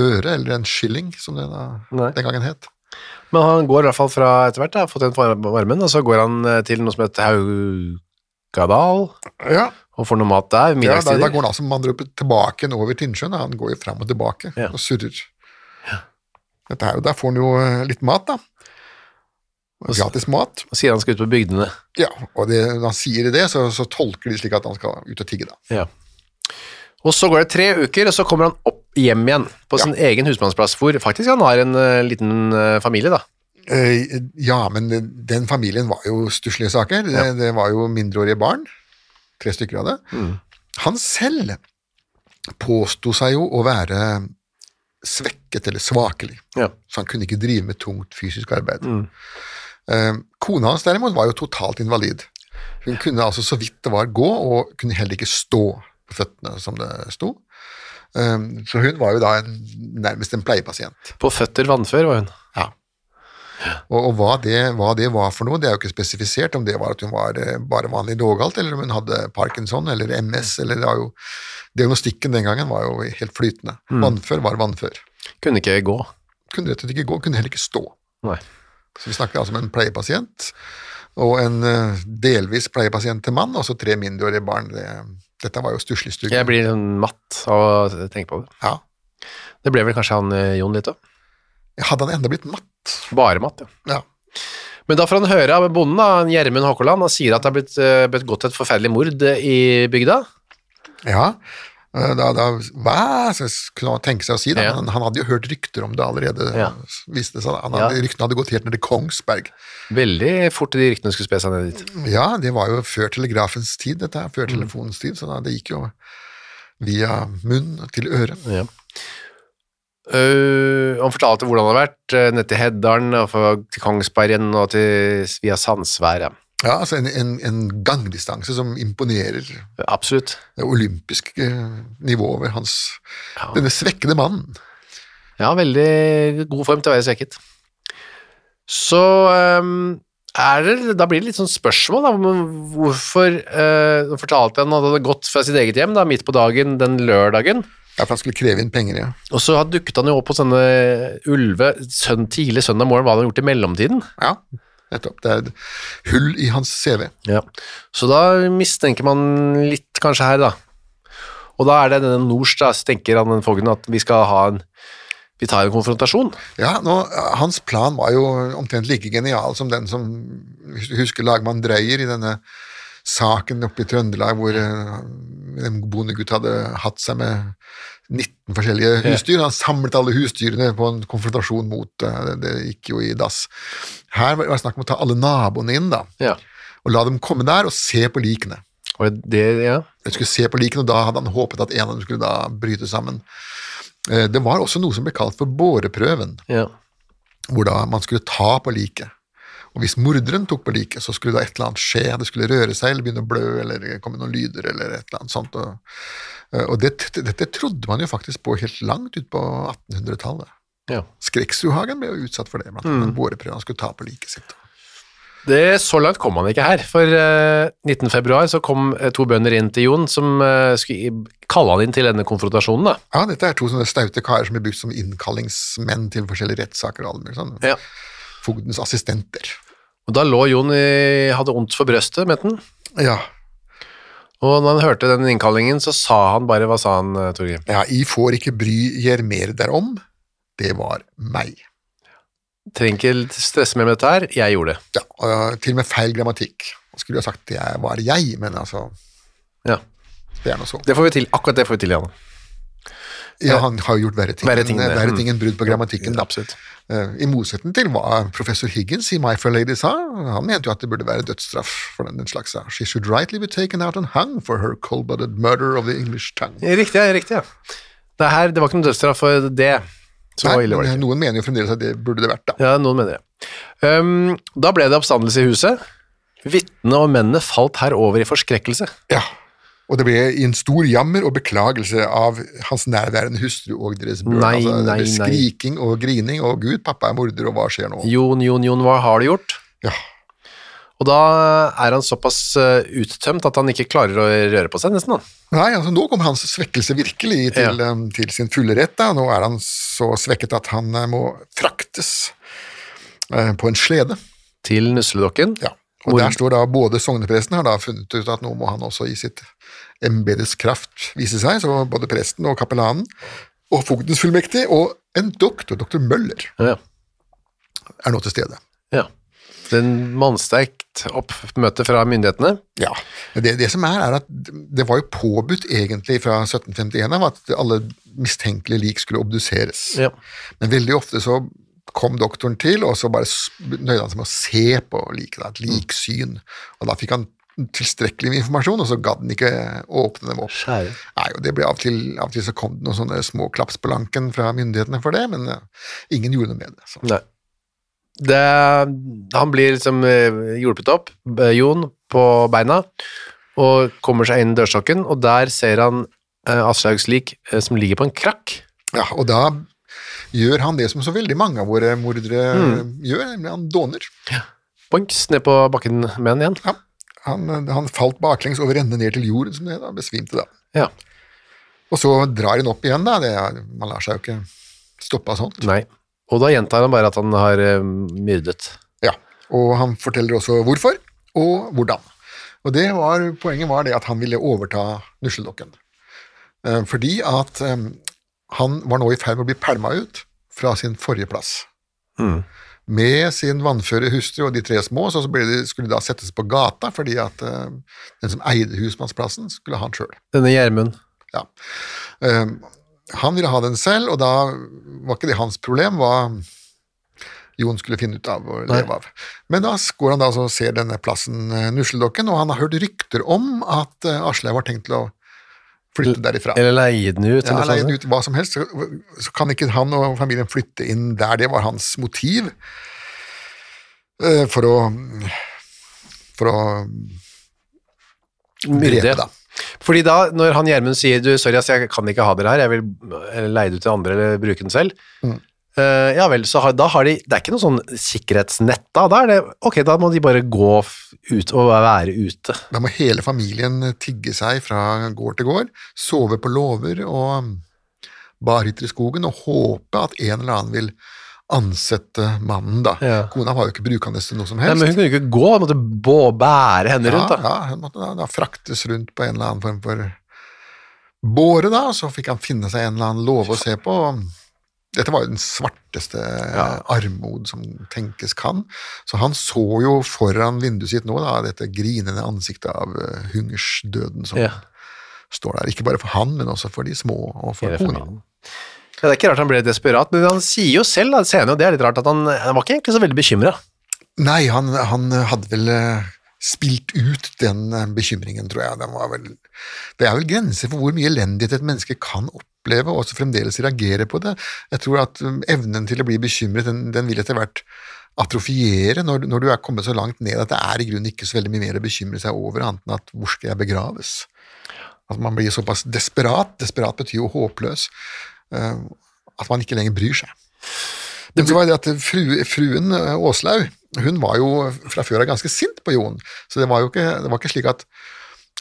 Speaker 3: øre, eller en skilling, som det da,
Speaker 2: Nei.
Speaker 3: den gangen het.
Speaker 2: Men han går i hvert fall fra etter hvert, da, har fått en på armen, og så går han eh, til noe som heter Haugadal,
Speaker 3: Ja,
Speaker 2: og får noe mat der,
Speaker 3: ja da,
Speaker 2: middagstider.
Speaker 3: da går han altså med andre ord tilbake igjen over Tinnsjøen. da. Han går jo fram og tilbake
Speaker 2: Ja.
Speaker 3: og surrer. Dette her, og Der får han jo eh, litt mat, da.
Speaker 2: Og så-
Speaker 3: Gratis mat.
Speaker 2: og sier han skal ut på bygdene.
Speaker 3: Ja, og det, når han sier det, så, så tolker de slik at han skal ut og tigge, da.
Speaker 2: Ja. Og så går det tre uker, og så kommer han opp hjem igjen på sin egen husmannsplass, hvor faktisk han har en eh, liten eh, familie, da.
Speaker 3: Eh, Ja, men den- den familien var jo stusslige saker. Det, det var jo mindreårige barn. Tre stykker av det. Han selv påsto seg jo å være svekket eller svakelig,
Speaker 2: Ja.
Speaker 3: så han kunne ikke drive med tungt fysisk arbeid. Eh, Kona hans derimot var jo totalt invalid. Hun kunne altså så vidt det var gå, og kunne heller ikke stå på føttene, som det sto. Eh, Så hun var jo da en, nærmest en pleiepasient.
Speaker 2: På føtter vannfør, var hun.
Speaker 3: Ja. Og, og hva, det, hva det var for noe, det er jo ikke spesifisert, om det var at hun var eh, bare vanlig lågalt, eller om hun hadde Parkinson eller MS, eller det var jo Diagnostikken den gangen var jo helt flytende. Vannfør var vannfør.
Speaker 2: Kunne ikke gå.
Speaker 3: Kunne rett og slett ikke gå, kunne heller ikke stå.
Speaker 2: Nei.
Speaker 3: Så vi snakker altså om en pleiepasient, og en eh, delvis pleiepasient til mann, og så tre mindreårige barn. Det, dette var jo stusslig stugg.
Speaker 2: Jeg blir sånn matt av å tenke på det.
Speaker 3: Ja.
Speaker 2: Det ble vel kanskje han eh, Jon litt òg.
Speaker 3: Hadde han enda blitt matt?
Speaker 2: Bare matt, ja.
Speaker 3: Ja.
Speaker 2: Men da får han høre av bonden, da, Gjermund Håkoland, han sier at det er blitt eh, begått et forferdelig mord eh, i bygda.
Speaker 3: Ja, eh, da, da hva så s- kunne han tenke seg å si det.
Speaker 2: Ja.
Speaker 3: Han, han hadde jo hørt rykter om det allerede.
Speaker 2: Ja.
Speaker 3: s- viste det seg. Han hadde,
Speaker 2: Ja.
Speaker 3: Ryktene hadde gått helt ned til Kongsberg.
Speaker 2: Veldig fort de ryktene skulle spe seg ned dit.
Speaker 3: Ja, det var jo før telegrafens tid, dette her.
Speaker 2: Mm.
Speaker 3: Før telefonens tid, så da, det gikk jo via munn til øre.
Speaker 2: Mm. Ja. Øh, han fortalte hvordan det hadde vært, eh, ned til Heddalen, og for- til Kongsbergen og til, via Sandsvær. Ja.
Speaker 3: Ja, altså en, en, en gangdistanse som imponerer det
Speaker 2: Absolutt.
Speaker 3: olympiske nivået eh, over hans Denne svekkede mannen.
Speaker 2: Ja, veldig god form til å være svekket. Så øhm, er det, da blir det litt sånn spørsmål, da. men Hvorfor øh, Nå fortalte han at han hadde gått fra sitt eget hjem da, midt på dagen den lørdagen.
Speaker 3: Ja, for han skulle kreve inn penger, ja.
Speaker 2: Og så hadde- dukket han jo opp hos denne ulve søn, tidlig søndag morgen, hva hadde han gjort i mellomtiden?
Speaker 3: Ja, nettopp. Det er et hull i hans CV.
Speaker 2: Ja. Så da mistenker man litt kanskje her, da. Og da er det denne Nors, da, så tenker han den fogden at vi skal ha en vi tar en konfrontasjon.
Speaker 3: Ja, nå, Hans plan var jo omtrent like genial som den som hvis du Husker lagmann Dreyer i denne saken oppe i Trøndelag hvor eh, en bondegutt hadde hatt seg med 19 forskjellige husdyr. Han samlet alle husdyrene på en konfrontasjon mot det. Det, det gikk jo i dass. Her var det snakk om å ta alle naboene inn da,
Speaker 2: Ja.
Speaker 3: og la dem komme der og se på likene.
Speaker 2: Og det, ja.
Speaker 3: Jeg skulle se på likene, og da hadde han håpet at en av dem skulle da bryte sammen. Eh, Det var også noe som ble kalt for båreprøven
Speaker 2: ja.
Speaker 3: hvor da man skulle ta på liket. Og hvis morderen tok på liket, så skulle da et eller annet skje. Det skulle røre seg eller begynne å blø eller komme noen lyder eller et eller annet sånt. Og, eh, og det, dette trodde man jo faktisk på helt langt ut på 1800-tallet.
Speaker 2: Ja.
Speaker 3: Skreksruhagen ble jo utsatt for det, blant annet. Båreprøven han skulle ta på liket sitt.
Speaker 2: Det, så langt kom han ikke her, for eh, 19. februar så kom eh, to bønder inn til Jon som eh, skulle i- kalle han inn til denne konfrontasjonen da.
Speaker 3: Ja, dette er to sånne staute karer som blir brukt som innkallingsmenn til forskjellige rettssaker og alt mulig sånn. Fogdens assistenter.
Speaker 2: Og da lå Jon i, hadde ondt for brøstet, mente han.
Speaker 3: Ja.
Speaker 2: Og når han hørte den innkallingen, så sa han bare, hva sa han, eh, Torgrim?
Speaker 3: ja, I får ikke bry jer mer derom. Det var meg.
Speaker 2: Trenger ikke stresse mer med dette her, jeg gjorde det.
Speaker 3: Ja, og til og med feil grammatikk. Man Skulle jo ha sagt det var jeg, men altså,
Speaker 2: Ja,
Speaker 3: det er nå så.
Speaker 2: det får vi til, akkurat det får vi til, Janne.
Speaker 3: Ja, han har jo gjort verre ting,
Speaker 2: Verre ting,
Speaker 3: enn-
Speaker 2: det.
Speaker 3: verre
Speaker 2: Mm.
Speaker 3: ting enn brudd på grammatikken. da.
Speaker 2: Absolutt.
Speaker 3: Eh, I motsetning til hva professor Higgins i My Fair Lady sa, han mente jo at det burde være dødsstraff for den, den slags. ja. She should rightly be taken out and hung for her cold-blooded murder of the English tongue.
Speaker 2: Riktig, ja, riktig, ja. Det her, det var ikke noen dødsstraff for det. Så
Speaker 3: Nei,
Speaker 2: ille var det
Speaker 3: men eh,
Speaker 2: ikke.
Speaker 3: noen mener jo fremdeles at det burde det vært, da.
Speaker 2: Ja, noen mener det. Um, da ble det oppstandelse i huset. Vittene og mennene falt herover i forskrekkelse.
Speaker 3: Ja. Og det ble i en stor jammer og beklagelse av hans nærværende hustru og deres børn.
Speaker 2: Nei,
Speaker 3: altså, det
Speaker 2: nei,
Speaker 3: ble
Speaker 2: nei.
Speaker 3: skriking og grining og 'Gud, pappa er morder, og hva skjer nå?'
Speaker 2: Jon, Jon, Jon, hva har du gjort?
Speaker 3: Ja.
Speaker 2: Og da er han såpass eh, uttømt at han ikke klarer å røre på seg nesten. Da.
Speaker 3: Nei, altså nå kom hans svekkelse virkelig til, em, til sin fulle rett. Da. Nå er han så svekket at han eh, må fraktes eh, på en slede.
Speaker 2: Til nusledokken.
Speaker 3: Ja.
Speaker 2: Hvor-
Speaker 3: Og der står da både sognepresten har da funnet ut at nå må han også i sitt embedes kraft vise seg, så både presten og kapellanen og fogdens fullmektig og en doktor, doktor Møller,
Speaker 2: Ja.
Speaker 3: er nå til stede.
Speaker 2: ja. Det er en mannsterkt oppmøte fra myndighetene.
Speaker 3: Ja, det, det som er, er at det var jo påbudt egentlig fra 1751 av at alle mistenkelige lik skulle obduseres.
Speaker 2: Ja.
Speaker 3: Men veldig ofte så kom doktoren til, og så bare s- nøyde han seg med å se på liket, da, et liksyn. Og da fikk han tilstrekkelig med informasjon, og så gadd han ikke åpne dem opp.
Speaker 2: Skjære.
Speaker 3: Nei, og det ble av og til, av og til så kom det noen sånne små klaps på lanken fra myndighetene for det, men eh, ingen gjorde noe med det. Så.
Speaker 2: Nei. Det, han blir liksom eh, hjulpet opp, eh, Jon, på beina, og kommer seg inn dørstokken, og der ser han eh, Aslaugs lik eh, som ligger på en krakk.
Speaker 3: Ja, og da gjør han det som så veldig mange av våre mordere eh, gjør, nemlig han dåner.
Speaker 2: Bonks ned på bakken med han igjen.
Speaker 3: Ja, han, han falt baklengs over ende ned til jorden, som det da, besvimte da.
Speaker 2: Ja.
Speaker 3: Og så drar han opp igjen, da. Det er, man lar seg jo ikke stoppe av sånt.
Speaker 2: Nei. Og da gjentar han bare at han har eh, myrdet.
Speaker 3: Ja. Og han forteller også hvorfor, og hvordan. Og det var, poenget var det at han ville overta nusledokken. Eh, Fordi at eh, han var nå i ferd med å bli pælma ut fra sin forrige plass. Med sin vannføre hustru og de tre små, så ble de, skulle de da settes på gata, fordi at eh, den som eide husmannsplassen, skulle ha han sjøl.
Speaker 2: Denne Gjermund.
Speaker 3: Ja. Ehm, han ville ha den selv, og da var ikke det hans problem hva Jon skulle finne ut av og leve av. Men da går han da og ser denne plassen, eh, Nusledokken, og han har hørt rykter om at eh, Aslaug har tenkt til å flytte derifra.
Speaker 2: Eller leie den ut.
Speaker 3: Ja,
Speaker 2: eller
Speaker 3: leie
Speaker 2: sånn.
Speaker 3: den ut, hva som helst, så, så kan ikke han og familien flytte inn der. Det var hans motiv eh, for å for å
Speaker 2: Myrde.
Speaker 3: drepe, da.
Speaker 2: Fordi da, når han Gjermund sier du, sorry, ass, jeg kan ikke ha dere her, jeg vil eh, leie det ut til andre eller bruke den selv,
Speaker 3: Mm.
Speaker 2: Eh, ja vel, så har, da har de, det er ikke noe sånn sikkerhetsnett da, da er det, ok, da må de bare gå f- ut og være ute.
Speaker 3: Da må hele familien tigge seg fra gård til gård, sove på låver og um, barhytter i skogen og håpe at en eller annen vil ansette mannen, da.
Speaker 2: Ja.
Speaker 3: Kona var jo ikke brukende til noe som
Speaker 2: Nei,
Speaker 3: helst.
Speaker 2: men hun kunne jo ikke gå, hun måtte bå, bære henne rundt da.
Speaker 3: Ja, ja, hun måtte da, da fraktes rundt på en eller annen form for båre, da, og så fikk han finne seg en eller annen låve å se på. og Dette var jo den svarteste armod som tenkes kan. Så han så jo foran vinduet sitt nå da, dette grinende ansiktet av eh, hungersdøden som
Speaker 2: Ja.
Speaker 3: står der. Ikke bare for han, men også for de små og for
Speaker 2: Hele
Speaker 3: kona.
Speaker 2: familien. Ja, det er ikke rart han ble desperat, men han sier jo selv da, senere, og det er litt rart, at han, han var ikke egentlig så veldig bekymret.
Speaker 3: Nei, han, han hadde vel eh, spilt ut den eh, bekymringen, tror jeg. Den var vel, det er vel grenser for hvor mye elendighet et menneske kan oppleve, og også fremdeles reagere på det. Jeg tror at um, evnen til å bli bekymret, den, den vil etter hvert atrofiere når, når du er kommet så langt ned at det er i grunnen ikke så veldig mye mer å bekymre seg over, annet enn at hvor skal jeg begraves? At man blir såpass desperat. Desperat betyr jo håpløs. eh, At man ikke lenger bryr seg. Men så var det at fru, fruen eh, Åslaug hun var jo fra før av ganske sint på Jon, så det var jo ikke, det var ikke slik at,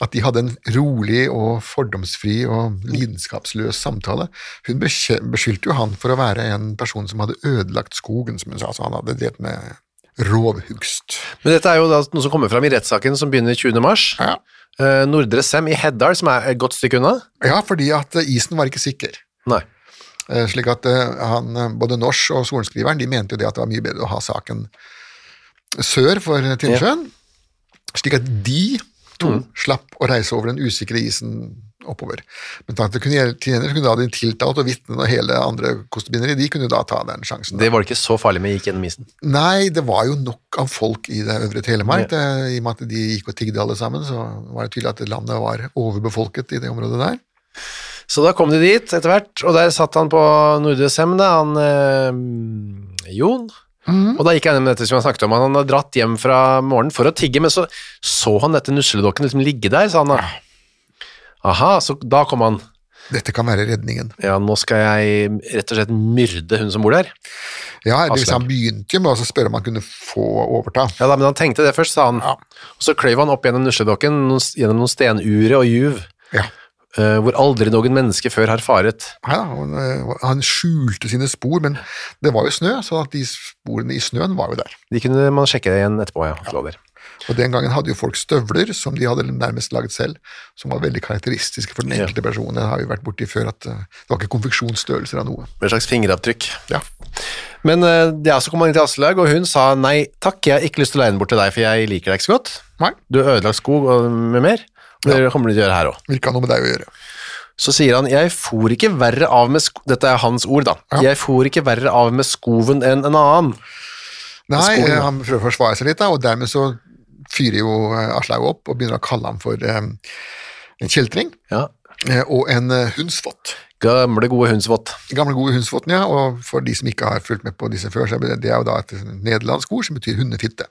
Speaker 3: at de hadde en rolig og fordomsfri og lidenskapsløs samtale. Hun beskje- beskyldte jo han for å være en person som hadde ødelagt skogen, som hun sa. Så han hadde delt med rovhugst.
Speaker 2: Men dette er jo da noe som kommer fram i rettssaken som begynner 20. mars.
Speaker 3: Ja.
Speaker 2: Eh, Nordre Sem i Heddal, som er et godt stykke unna.
Speaker 3: ja, fordi at eh, isen var ikke sikker.
Speaker 2: Nei.
Speaker 3: Eh, Slik at eh, han, eh, både Norsk og sorenskriveren de mente jo det at det var mye bedre å ha saken sør for Tinnsjøen, slik at de to slapp å reise over den usikre isen oppover. Men takk til kunne, kunne da de tiltalte og vitnene og hele andre kostebindere, de kunne da ta den sjansen.
Speaker 2: Det var det ikke så farlig med gikk gjennom isen.
Speaker 3: Nei, det var jo nok av folk i det øvre Telemark. Det, I og med at de gikk og tigde alle sammen, så var det tydelig at landet var overbefolket i det området der.
Speaker 2: Så da kom de dit etter hvert, og der satt han på Nordre Sem, da, han eh, Jon. Og da gikk jeg gjennom dette som jeg snakket om. Han hadde dratt hjem fra morgenen for å tigge, men så så han dette nusledokken liksom ligge der, sa han da. Aha, så da kom han.
Speaker 3: Dette kan være redningen.
Speaker 2: Ja, nå skal jeg rett og slett myrde hun som bor der.
Speaker 3: Ja, det vil si,
Speaker 2: Aslak.
Speaker 3: Han begynte jo med å spørre om han kunne få overta.
Speaker 2: Ja da, men han tenkte det først, sa han. Og så kløyv han opp gjennom nusledokken, noen, gjennom noen stenure og juv,
Speaker 3: Ja.
Speaker 2: eh, hvor aldri noen menneske før har faret.
Speaker 3: Ja, han, eh, han skjulte sine spor, men det var jo snø, så at de sporene i snøen var jo der.
Speaker 2: De kunne man sjekke igjen etterpå, ja. Lover.
Speaker 3: Og Den gangen hadde jo folk støvler som de hadde nærmest laget selv, som var veldig karakteristiske for den enkelte personen. Det har vi vært borti før, at eh, det var ikke konfeksjonsstørrelser av noe.
Speaker 2: Med et slags fingeravtrykk.
Speaker 3: Ja.
Speaker 2: Men eh, ja, så kom han inn til Aslaug, og hun sa nei takk, jeg har ikke lyst til å leie den bort til deg, for jeg liker deg ikke så godt.
Speaker 3: Nei,
Speaker 2: Du har ødelagt skog og med mer, og det kommer du til å gjøre her òg.
Speaker 3: vil ikke ha noe med deg å gjøre.
Speaker 2: Så sier han jeg for ikke verre av med sko... Dette er hans ord, da.
Speaker 3: Ja.
Speaker 2: Jeg for ikke verre av med skoven enn en annen.
Speaker 3: Nei,
Speaker 2: Skolen,
Speaker 3: eh,
Speaker 2: ja.
Speaker 3: han prøver å forsvare seg litt, da, og dermed så fyrer jo eh, Aslaug opp og begynner å kalle ham for eh, en kjeltring
Speaker 2: Ja.
Speaker 3: eh, og en eh, hundsvott.
Speaker 2: Gamle, gode hundsvott.
Speaker 3: Gamle gode hundsvotten, ja, og for de som ikke har fulgt med på disse før, så er det det er jo da et nederlandsk ord som betyr hundefitte.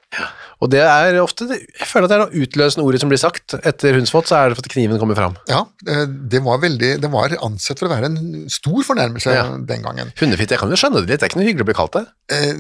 Speaker 2: Og det er ofte det, Jeg føler at det er det utløsende ordet som blir sagt etter hundsvott, så er det for at kniven kommer fram.
Speaker 3: Ja, eh, det var veldig, det var ansett for å være en stor fornærmelse
Speaker 2: Ja.
Speaker 3: den gangen.
Speaker 2: Hundefitte, jeg kan jo skjønne det litt, det er ikke noe hyggelig å bli kalt det.
Speaker 3: Eh,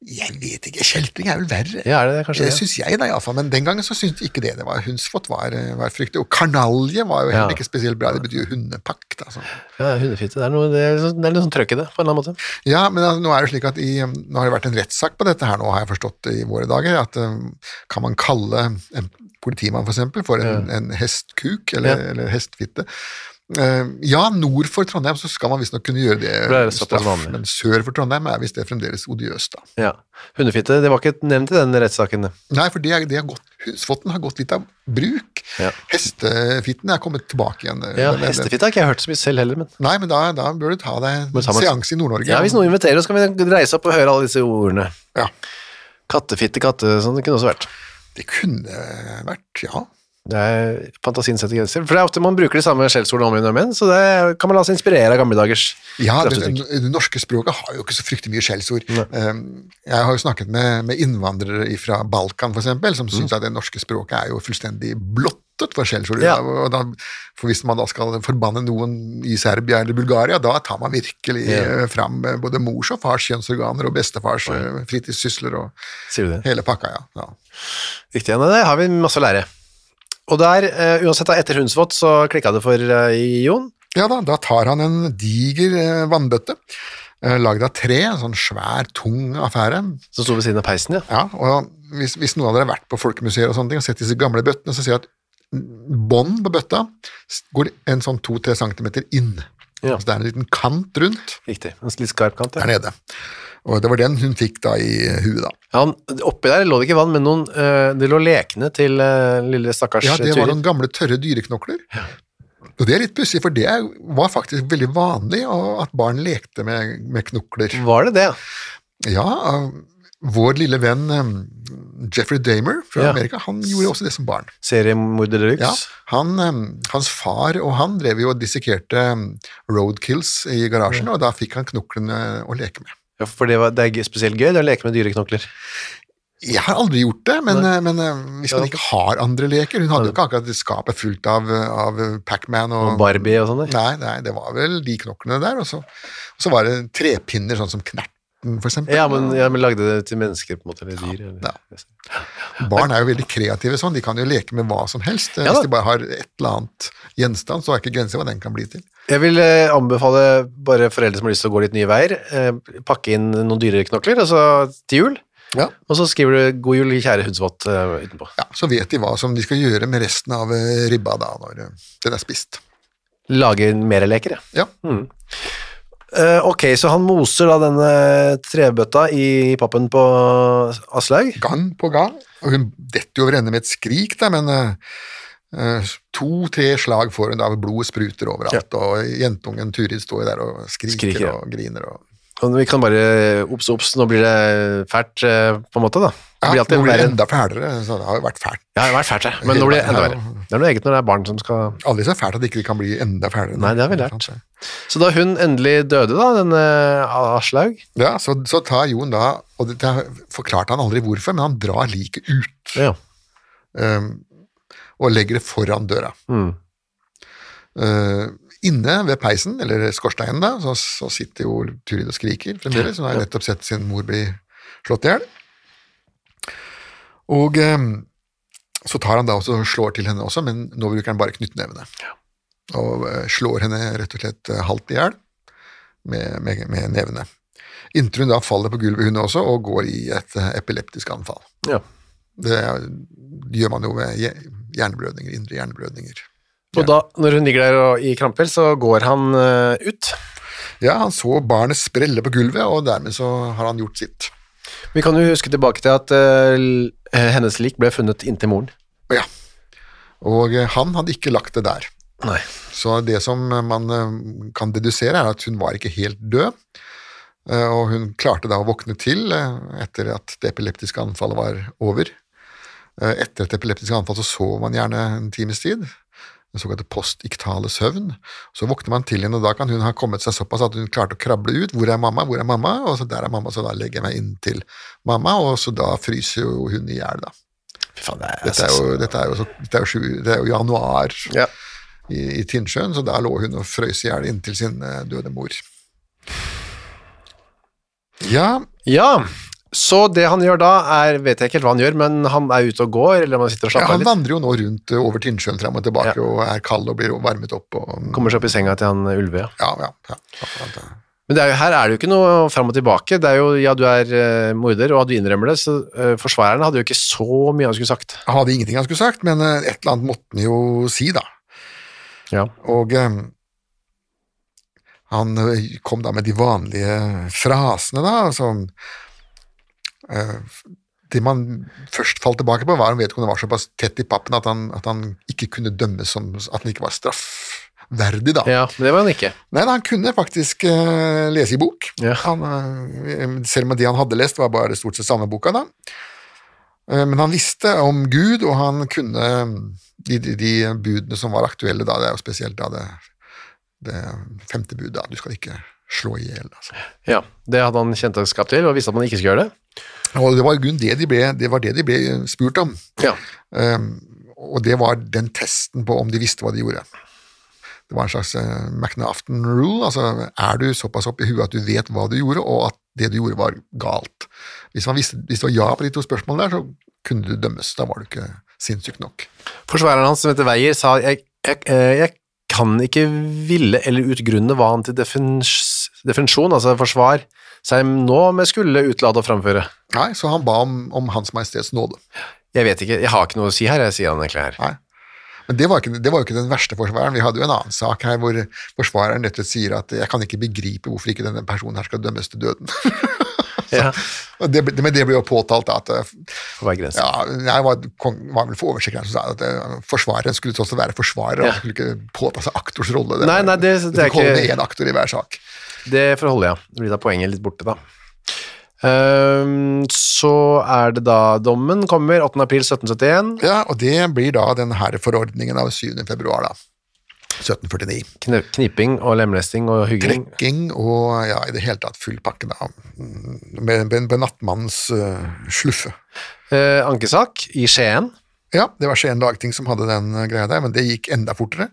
Speaker 3: Jeg vet ikke, kjeltring er vel verre.
Speaker 2: Ja, er det det, kanskje
Speaker 3: Det
Speaker 2: det?
Speaker 3: syns jeg da iallfall, men den gangen så syntes ikke det. det var Hundsvott var, eh, var fryktelig, og kanalje var jo heller
Speaker 2: Ja.
Speaker 3: ikke spesielt bra, det betyr jo hundepakt. Altså.
Speaker 2: Ja, hundefitte, det er, noe, det er, litt sånn- det er litt sånn trøkk i det, på en eller annen måte.
Speaker 3: Ja, men altså, nå er det slik at i, um, nå har det vært en rettssak på dette her nå, har jeg forstått i våre dager, at um, kan man kalle en politimann for eksempel for en, en hestkuk eller,
Speaker 2: Ja.
Speaker 3: eller hestfitte? Uh, ja, nord for Trondheim så skal man visstnok kunne gjøre det,
Speaker 2: For det er såpass
Speaker 3: straff,
Speaker 2: vanlig.
Speaker 3: men sør for Trondheim er visst det fremdeles odiøst da.
Speaker 2: Ja. Hundefitte, det var ikke nevnt i den rettssaken.
Speaker 3: Nei, for det, er- det har gått, hundsvotten har gått litt av bruk.
Speaker 2: Ja.
Speaker 3: Hestefitten er kommet tilbake igjen.
Speaker 2: Ja,
Speaker 3: Den- den-
Speaker 2: Hestefitte har ikke jeg hørt så mye selv heller, men
Speaker 3: Nei, men da, da bør du ta deg
Speaker 2: Men
Speaker 3: en
Speaker 2: ta meg-
Speaker 3: seanse i Nord-Norge.
Speaker 2: ja, hvis noen inviterer oss, kan vi reise opp og høre alle disse ordene.
Speaker 3: Ja,
Speaker 2: Kattefitte, katte, sånn det kunne også vært.
Speaker 3: det kunne vært, ja.
Speaker 2: Det er fantasien setter grenser. For det er ofte man bruker de samme skjellsordene om igjen og om igjen, så det kan man la seg inspirere av gamle dagers
Speaker 3: Ja, det,
Speaker 2: kraftuttrykk.
Speaker 3: det norske språket har jo ikke så fryktelig mye skjellsord. Um, Jeg har jo snakket med, med innvandrere fra Balkan, for eksempel, som
Speaker 2: Mm.
Speaker 3: syns at det norske språket er jo fullstendig blottet for skjellsord.
Speaker 2: Ja.
Speaker 3: Og da, for hvis man da skal forbanne noen i Serbia eller Bulgaria, da tar man virkelig
Speaker 2: Ja.
Speaker 3: eh, fram eh, både mors og fars kjønnsorganer og bestefars eh, fritidssysler og
Speaker 2: Sier du det?
Speaker 3: hele pakka, ja. ja.
Speaker 2: Riktig, ja, nei, der har vi masse å lære. Og der, eh, uansett da, etter Hundsvott, så klikket det for eh, Jon.
Speaker 3: Ja da, da tar han en diger eh, vannbøtte, eh, lagd av tre, en sånn svær, tung affære.
Speaker 2: som sto ved siden av peisen, ja.
Speaker 3: Ja, og hvis, hvis noen av dere har vært på folkemuseer og sånne ting og sett disse gamle bøttene, så ser jeg at bånd på bøtta s- går en sånn 2-3 cm inn.
Speaker 2: Ja.
Speaker 3: Så det er en liten kant rundt
Speaker 2: Riktig, en litt skarp kant, ja.
Speaker 3: der nede. Og det var den hun fikk da i eh, huet, da.
Speaker 2: Ja, Han, oppi der lå det ikke vann, men noen, eh, det lå lekene til eh, lille stakkars
Speaker 3: Ja, det var
Speaker 2: Turid.
Speaker 3: noen gamle tørre dyreknokler. Og det er litt pussig, for det er- var faktisk veldig vanlig å- at barn lekte med, med knokler.
Speaker 2: Var det det? ja?
Speaker 3: Ja, øh, vår lille venn øh, Jeffrey Damer fra
Speaker 2: Ja.
Speaker 3: Amerika, han gjorde også det som barn.
Speaker 2: Seriemorder deluxe?
Speaker 3: Ja, han, øhm, hans far og han drev jo og dissekerte øhm, roadkills i garasjen, og da fikk han knoklene å leke med.
Speaker 2: Ja, for det, var, det er g- spesielt gøy det å leke med dyreknokler.
Speaker 3: Jeg har aldri gjort det, men, men eh, hvis
Speaker 2: Ja.
Speaker 3: man ikke har andre leker Hun hadde jo ikke akkurat skapet fullt av, av Pac-Man og,
Speaker 2: Og Barbie og sånn. der.
Speaker 3: Nei, nei, det var vel de knoklene der, og så, og så var det trepinner, sånn som Knerten, for eksempel.
Speaker 2: Ja men, ja, men lagde det til mennesker, på en måte, eller dyr. Eller.
Speaker 3: Ja. Barn er jo veldig kreative sånn, de kan jo leke med hva som helst. eh,
Speaker 2: Ja da.
Speaker 3: Hvis de bare har et eller annet gjenstand, så er ikke grenser hva den kan bli til.
Speaker 2: Jeg vil eh, anbefale bare foreldre som har lyst til å gå litt nye veier, eh, pakke inn noen dyreknokler altså, til jul,
Speaker 3: Ja.
Speaker 2: og så skriver du 'God jul, kjære Hudsvott' eh, utenpå.
Speaker 3: Ja, så vet de hva som de skal gjøre med resten av eh, ribba da, når eh, den er spist.
Speaker 2: Lage mer leker, ja. Mm.
Speaker 3: Ja,
Speaker 2: Eh, ok, så han moser da denne trebøtta i pappen på Aslaug.
Speaker 3: gang på gang, og hun detter jo over ende med et skrik da, men eh, to-tre slag får hun da, blodet spruter overalt, og jentungen Turid står jo der og skriker,
Speaker 2: Skriker, ja.
Speaker 3: og griner. Og,
Speaker 2: Og vi kan bare Ops, ops, nå blir det fælt, eh, på en måte, da. Det
Speaker 3: ja,
Speaker 2: blir alltid
Speaker 3: nå blir det
Speaker 2: verre.
Speaker 3: enda fælere, så det har jo vært fælt.
Speaker 2: Ja, det har vært fælt, det. Men nå blir det enda verre. Det er noe eget når det er barn som skal
Speaker 3: Aldri så fælt at det ikke kan bli enda fælere.
Speaker 2: Nei, det har vi lært. Så da hun endelig døde, da, denne Aslaug
Speaker 3: Ja, så, så tar Jon da, og det, det forklarte han aldri hvorfor, men han drar liket ut
Speaker 2: ja.
Speaker 3: øhm, og legger det foran døra.
Speaker 2: Mm.
Speaker 3: Øh, inne ved peisen, eller skorsteinen da, så, så sitter jo Turid og skriker fremdeles, hun har nettopp sett sin mor bli slått ihjel. Og øhm, så tar han da også og slår til henne også, men nå bruker han bare knyttnevene. Og øh, slår henne rett og slett øh, halvt ihjel med, med, med nevene. Inntil hun da faller på gulvet hun også, og går i et eh, epileptisk anfall.
Speaker 2: ja.
Speaker 3: Det gjør man jo ved hje- hjerneblødninger, indre hjerneblødninger.
Speaker 2: Og da, når hun ligger der og, i kramper, så går han eh, ut.
Speaker 3: Ja, han så barnet sprelle på gulvet, og dermed så har han gjort sitt.
Speaker 2: Vi kan jo huske tilbake til at eh, l- eh, hennes lik ble funnet inntil moren.
Speaker 3: Og Ja. Og eh, han hadde ikke lagt det der.
Speaker 2: Nei.
Speaker 3: Så det som man eh, kan dedusere, er at hun var ikke helt død. eh, Og hun klarte da å våkne til eh, etter at det epileptiske anfallet var over. Eh, Etter et epileptisk anfall så sov man gjerne en times tid. Den såkalte postiktale søvn. Så våkner man til henne, og da kan hun ha kommet seg såpass at hun klarte å krable ut. 'Hvor er mamma? Hvor er mamma?' Og så 'Der er mamma', så da legger jeg meg inn til mamma, og så da fryser jo hun i hjel, da.
Speaker 2: Fy faen, det er,
Speaker 3: Dette er jo, dette er jo, så, dette er jo, sju, det er jo januar
Speaker 2: Ja.
Speaker 3: i, i Tinnsjøen, så der lå hun og frøs i hjel inntil sin eh, døde mor. Ja,
Speaker 2: ja. Så det han gjør da, er Vet jeg ikke helt hva han gjør, men han er ute og går, eller man sitter og
Speaker 3: ja
Speaker 2: slapper av
Speaker 3: han
Speaker 2: litt.
Speaker 3: vandrer jo nå rundt eh, over Tinnsjøen fram og tilbake
Speaker 2: Ja.
Speaker 3: og er kald og blir varmet opp. Og,
Speaker 2: Kommer seg opp i senga til han eh, Ulve, ja.
Speaker 3: ja, ja, ja, akkurat det.
Speaker 2: Men det er jo, her er det jo ikke noe fram og tilbake. Det er jo ja, du er eh, morder, og du innrømmer det, så eh, forsvareren hadde jo ikke så mye han skulle sagt.
Speaker 3: Han hadde ingenting han skulle sagt, men eh, et eller annet måtte han jo si, da.
Speaker 2: Ja.
Speaker 3: Og eh, han eh, kom da med de vanlige frasene, da, som eh, Det man først falt tilbake på, var om vedkommende var såpass tett i pappen at han, at han ikke kunne dømmes som At han ikke var straffverdig, da.
Speaker 2: ja, men det var han ikke.
Speaker 3: Nei, da, han kunne faktisk eh, lese i bok.
Speaker 2: Ja.
Speaker 3: Han, eh, selv om det han hadde lest, var bare stort sett samme boka, da. Eh, men han visste om Gud, og han kunne eh, de, de, de budene som var aktuelle da. Det er jo spesielt da det, det femte budet, da. Du skal ikke slå i hjel. Altså.
Speaker 2: Ja, Det hadde han kjennskap til, og visste at man ikke skulle gjøre det.
Speaker 3: Og det var i grunnen det de ble, det var det de ble spurt om.
Speaker 2: Ja.
Speaker 3: Um, og det var den testen på om de visste hva de gjorde. Det var en slags eh, McNaughton rule, altså er du såpass opp i huet at du vet hva du gjorde, og at det du gjorde var galt. Hvis, man visste, hvis det var ja på de to spørsmålene der, så kunne du dømmes. Da var du ikke sinnssyk nok.
Speaker 2: Forsvareren hans, som heter Weier, sa jeg, jeg, eh, jeg kan ikke ville eller utgrunne hva han til defens, defensjon, altså forsvar, seg nå med skulle utelate å framføre.
Speaker 3: Nei, så han ba om, om Hans Majestets nåde.
Speaker 2: Jeg vet ikke, jeg har ikke noe å si her, jeg sier han egentlig her.
Speaker 3: Nei. Men det var, ikke, det var jo ikke den verste forsvareren. Vi hadde jo en annen sak her hvor forsvareren rett og slett sier at jeg kan ikke begripe hvorfor ikke denne personen her skal dømmes til døden.
Speaker 2: Ja,
Speaker 3: Og det, ble- men det ble jo påtalt da, at eh,
Speaker 2: på hver grense.
Speaker 3: Ja, jeg var, kong, var vel for oversikkerheten som sa at eh, forsvareren skulle tross alt være forsvarer,
Speaker 2: Ja.
Speaker 3: han skulle ikke påta seg aktors rolle.
Speaker 2: Nei, nei, det- det
Speaker 3: du
Speaker 2: er
Speaker 3: fikk holde
Speaker 2: ikke-
Speaker 3: med én aktor i hver sak.
Speaker 2: Det forholder jeg. Det blir da poenget litt borte, da. Ehm, så er det da dommen kommer 8. april 1771.
Speaker 3: Ja, og det blir da den her forordningen av 7. februar, da. 1749.
Speaker 2: Kne- Kniping og lemlesting og hugging.
Speaker 3: Trekking og ja, i det hele tatt full pakke da. Mm, Med, med, med nattmannens eh, sluffe.
Speaker 2: Eh, ankesak i Skien.
Speaker 3: Ja, det var Skien lagting som hadde den eh, greia der, men det gikk enda fortere.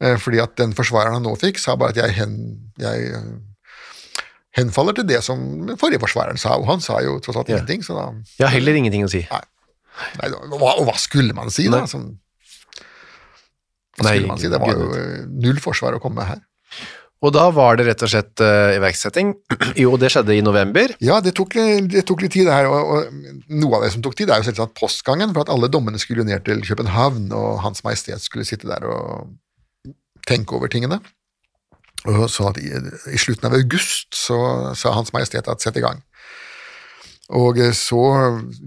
Speaker 3: Eh, Fordi at den forsvareren han nå fikk, sa bare at jeg, hen, jeg eh, henfaller til det som den forrige forsvareren sa, og han sa jo tross alt
Speaker 2: Ja.
Speaker 3: ingenting, så da
Speaker 2: Jeg har heller ingenting å si.
Speaker 3: nei, da- og hva, Og hva skulle man si, da?
Speaker 2: Nei.
Speaker 3: Som, hva
Speaker 2: Nei,
Speaker 3: skulle man si? Det var jo
Speaker 2: gud.
Speaker 3: eh, null forsvar å komme med her.
Speaker 2: Og da var det rett og slett eh, iverksetting. Jo, det skjedde i november.
Speaker 3: Ja, det tok, det tok litt tid det her, og, og noe av det som tok tid, er jo selvsagt postgangen, for at alle dommene skulle jo ned til København, og Hans Majestet skulle sitte der og tenke over tingene. Og sånn at i, i slutten av august så sa Hans Majestet at sett i gang. Og eh, så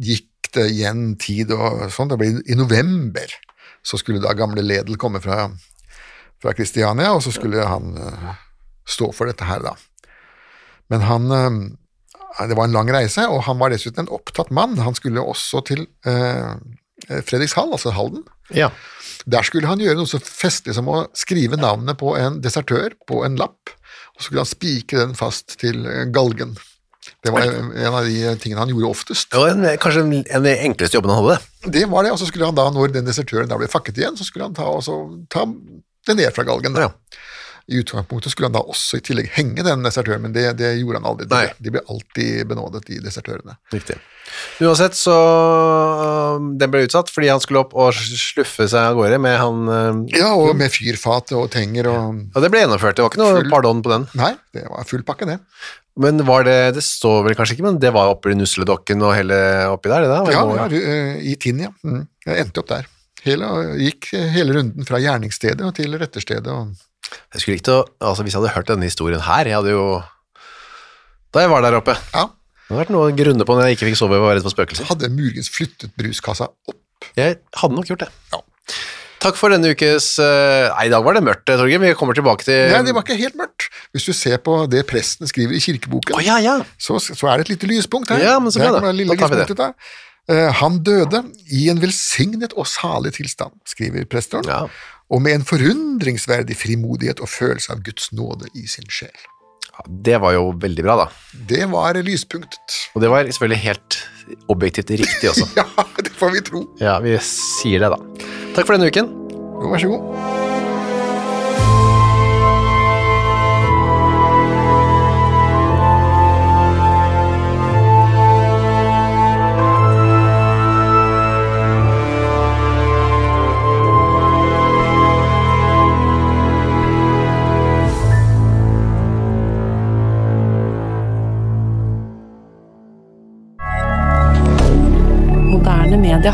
Speaker 3: gikk det igjen tid og sånn, det ble i november så skulle da gamle Ledel komme fra, fra Kristiania, og så skulle han eh, stå for dette her da. Men han... eh, det var en lang reise, og han var dessuten en opptatt mann. Han skulle også til eh, Fredrikshall, altså Halden.
Speaker 2: Ja.
Speaker 3: Der skulle han gjøre noe så festlig som å skrive navnet på en desertør på en lapp, og så skulle han spikre den fast til eh, galgen. Det var en en av de tingene han gjorde oftest.
Speaker 2: Det var en, kanskje en, en av de enkleste jobbene han hadde.
Speaker 3: Det var det, og så skulle han da, når den desertøren da ble fakket igjen, så skulle han ta, og så ta det ned fra galgen.
Speaker 2: Ja.
Speaker 3: I utgangspunktet skulle han da også i tillegg henge den desertøren, men det, det gjorde han aldri. De,
Speaker 2: Nei.
Speaker 3: de ble alltid benådet, de desertørene.
Speaker 2: Riktig. Uansett så øhm, den ble utsatt fordi han skulle opp og sluffe seg av gårde med han øhm,
Speaker 3: Ja, og med fyrfat og tenger og
Speaker 2: Ja, det ble gjennomført, det var ikke noe
Speaker 3: Full-
Speaker 2: pardon på den.
Speaker 3: Nei, det var full pakke, det.
Speaker 2: Men var det Det står vel kanskje ikke, men det var oppi Nusledokken og hele oppi der, det der?
Speaker 3: Ja,
Speaker 2: Må-
Speaker 3: ja, eh, I Tinn, ja. Mm. Jeg endte opp der. Hele, gikk hele runden fra gjerningsstedet og til retterstedet. Og
Speaker 2: Jeg skulle ikke å Altså, hvis jeg hadde hørt denne historien her, jeg hadde jo Da jeg var der oppe.
Speaker 3: ja,
Speaker 2: Det hadde vært noe å grunne på når jeg ikke fikk sove og var redd for spøkelser.
Speaker 3: hadde muligens flyttet bruskassa opp.
Speaker 2: Jeg hadde nok gjort det.
Speaker 3: Ja.
Speaker 2: Takk for denne ukes øh, Nei, i dag var det mørkt, Torgrim. Vi kommer tilbake til
Speaker 3: Nei, det var ikke helt mørkt. Hvis du ser på det presten skriver i kirkeboken,
Speaker 2: Å, ja, ja.
Speaker 3: så, så er det et lite lyspunkt her.
Speaker 2: Ja, men så bra
Speaker 3: Der
Speaker 2: da.
Speaker 3: kommer det lille
Speaker 2: Da tar vi det.
Speaker 3: lyspunktet da. Eh, Han døde i en velsignet og salig tilstand, skriver presteren,
Speaker 2: ja.
Speaker 3: og med en forundringsverdig frimodighet og følelse av Guds nåde i sin sjel.
Speaker 2: Ja, Det var jo veldig bra, da.
Speaker 3: Det var lyspunktet.
Speaker 2: Og det var selvfølgelig helt objektivt riktig også.
Speaker 3: Ja, det får vi tro.
Speaker 2: Ja, vi sier det, da. Takk for denne uken.
Speaker 3: Jo, Vær så god.
Speaker 4: Moderne media.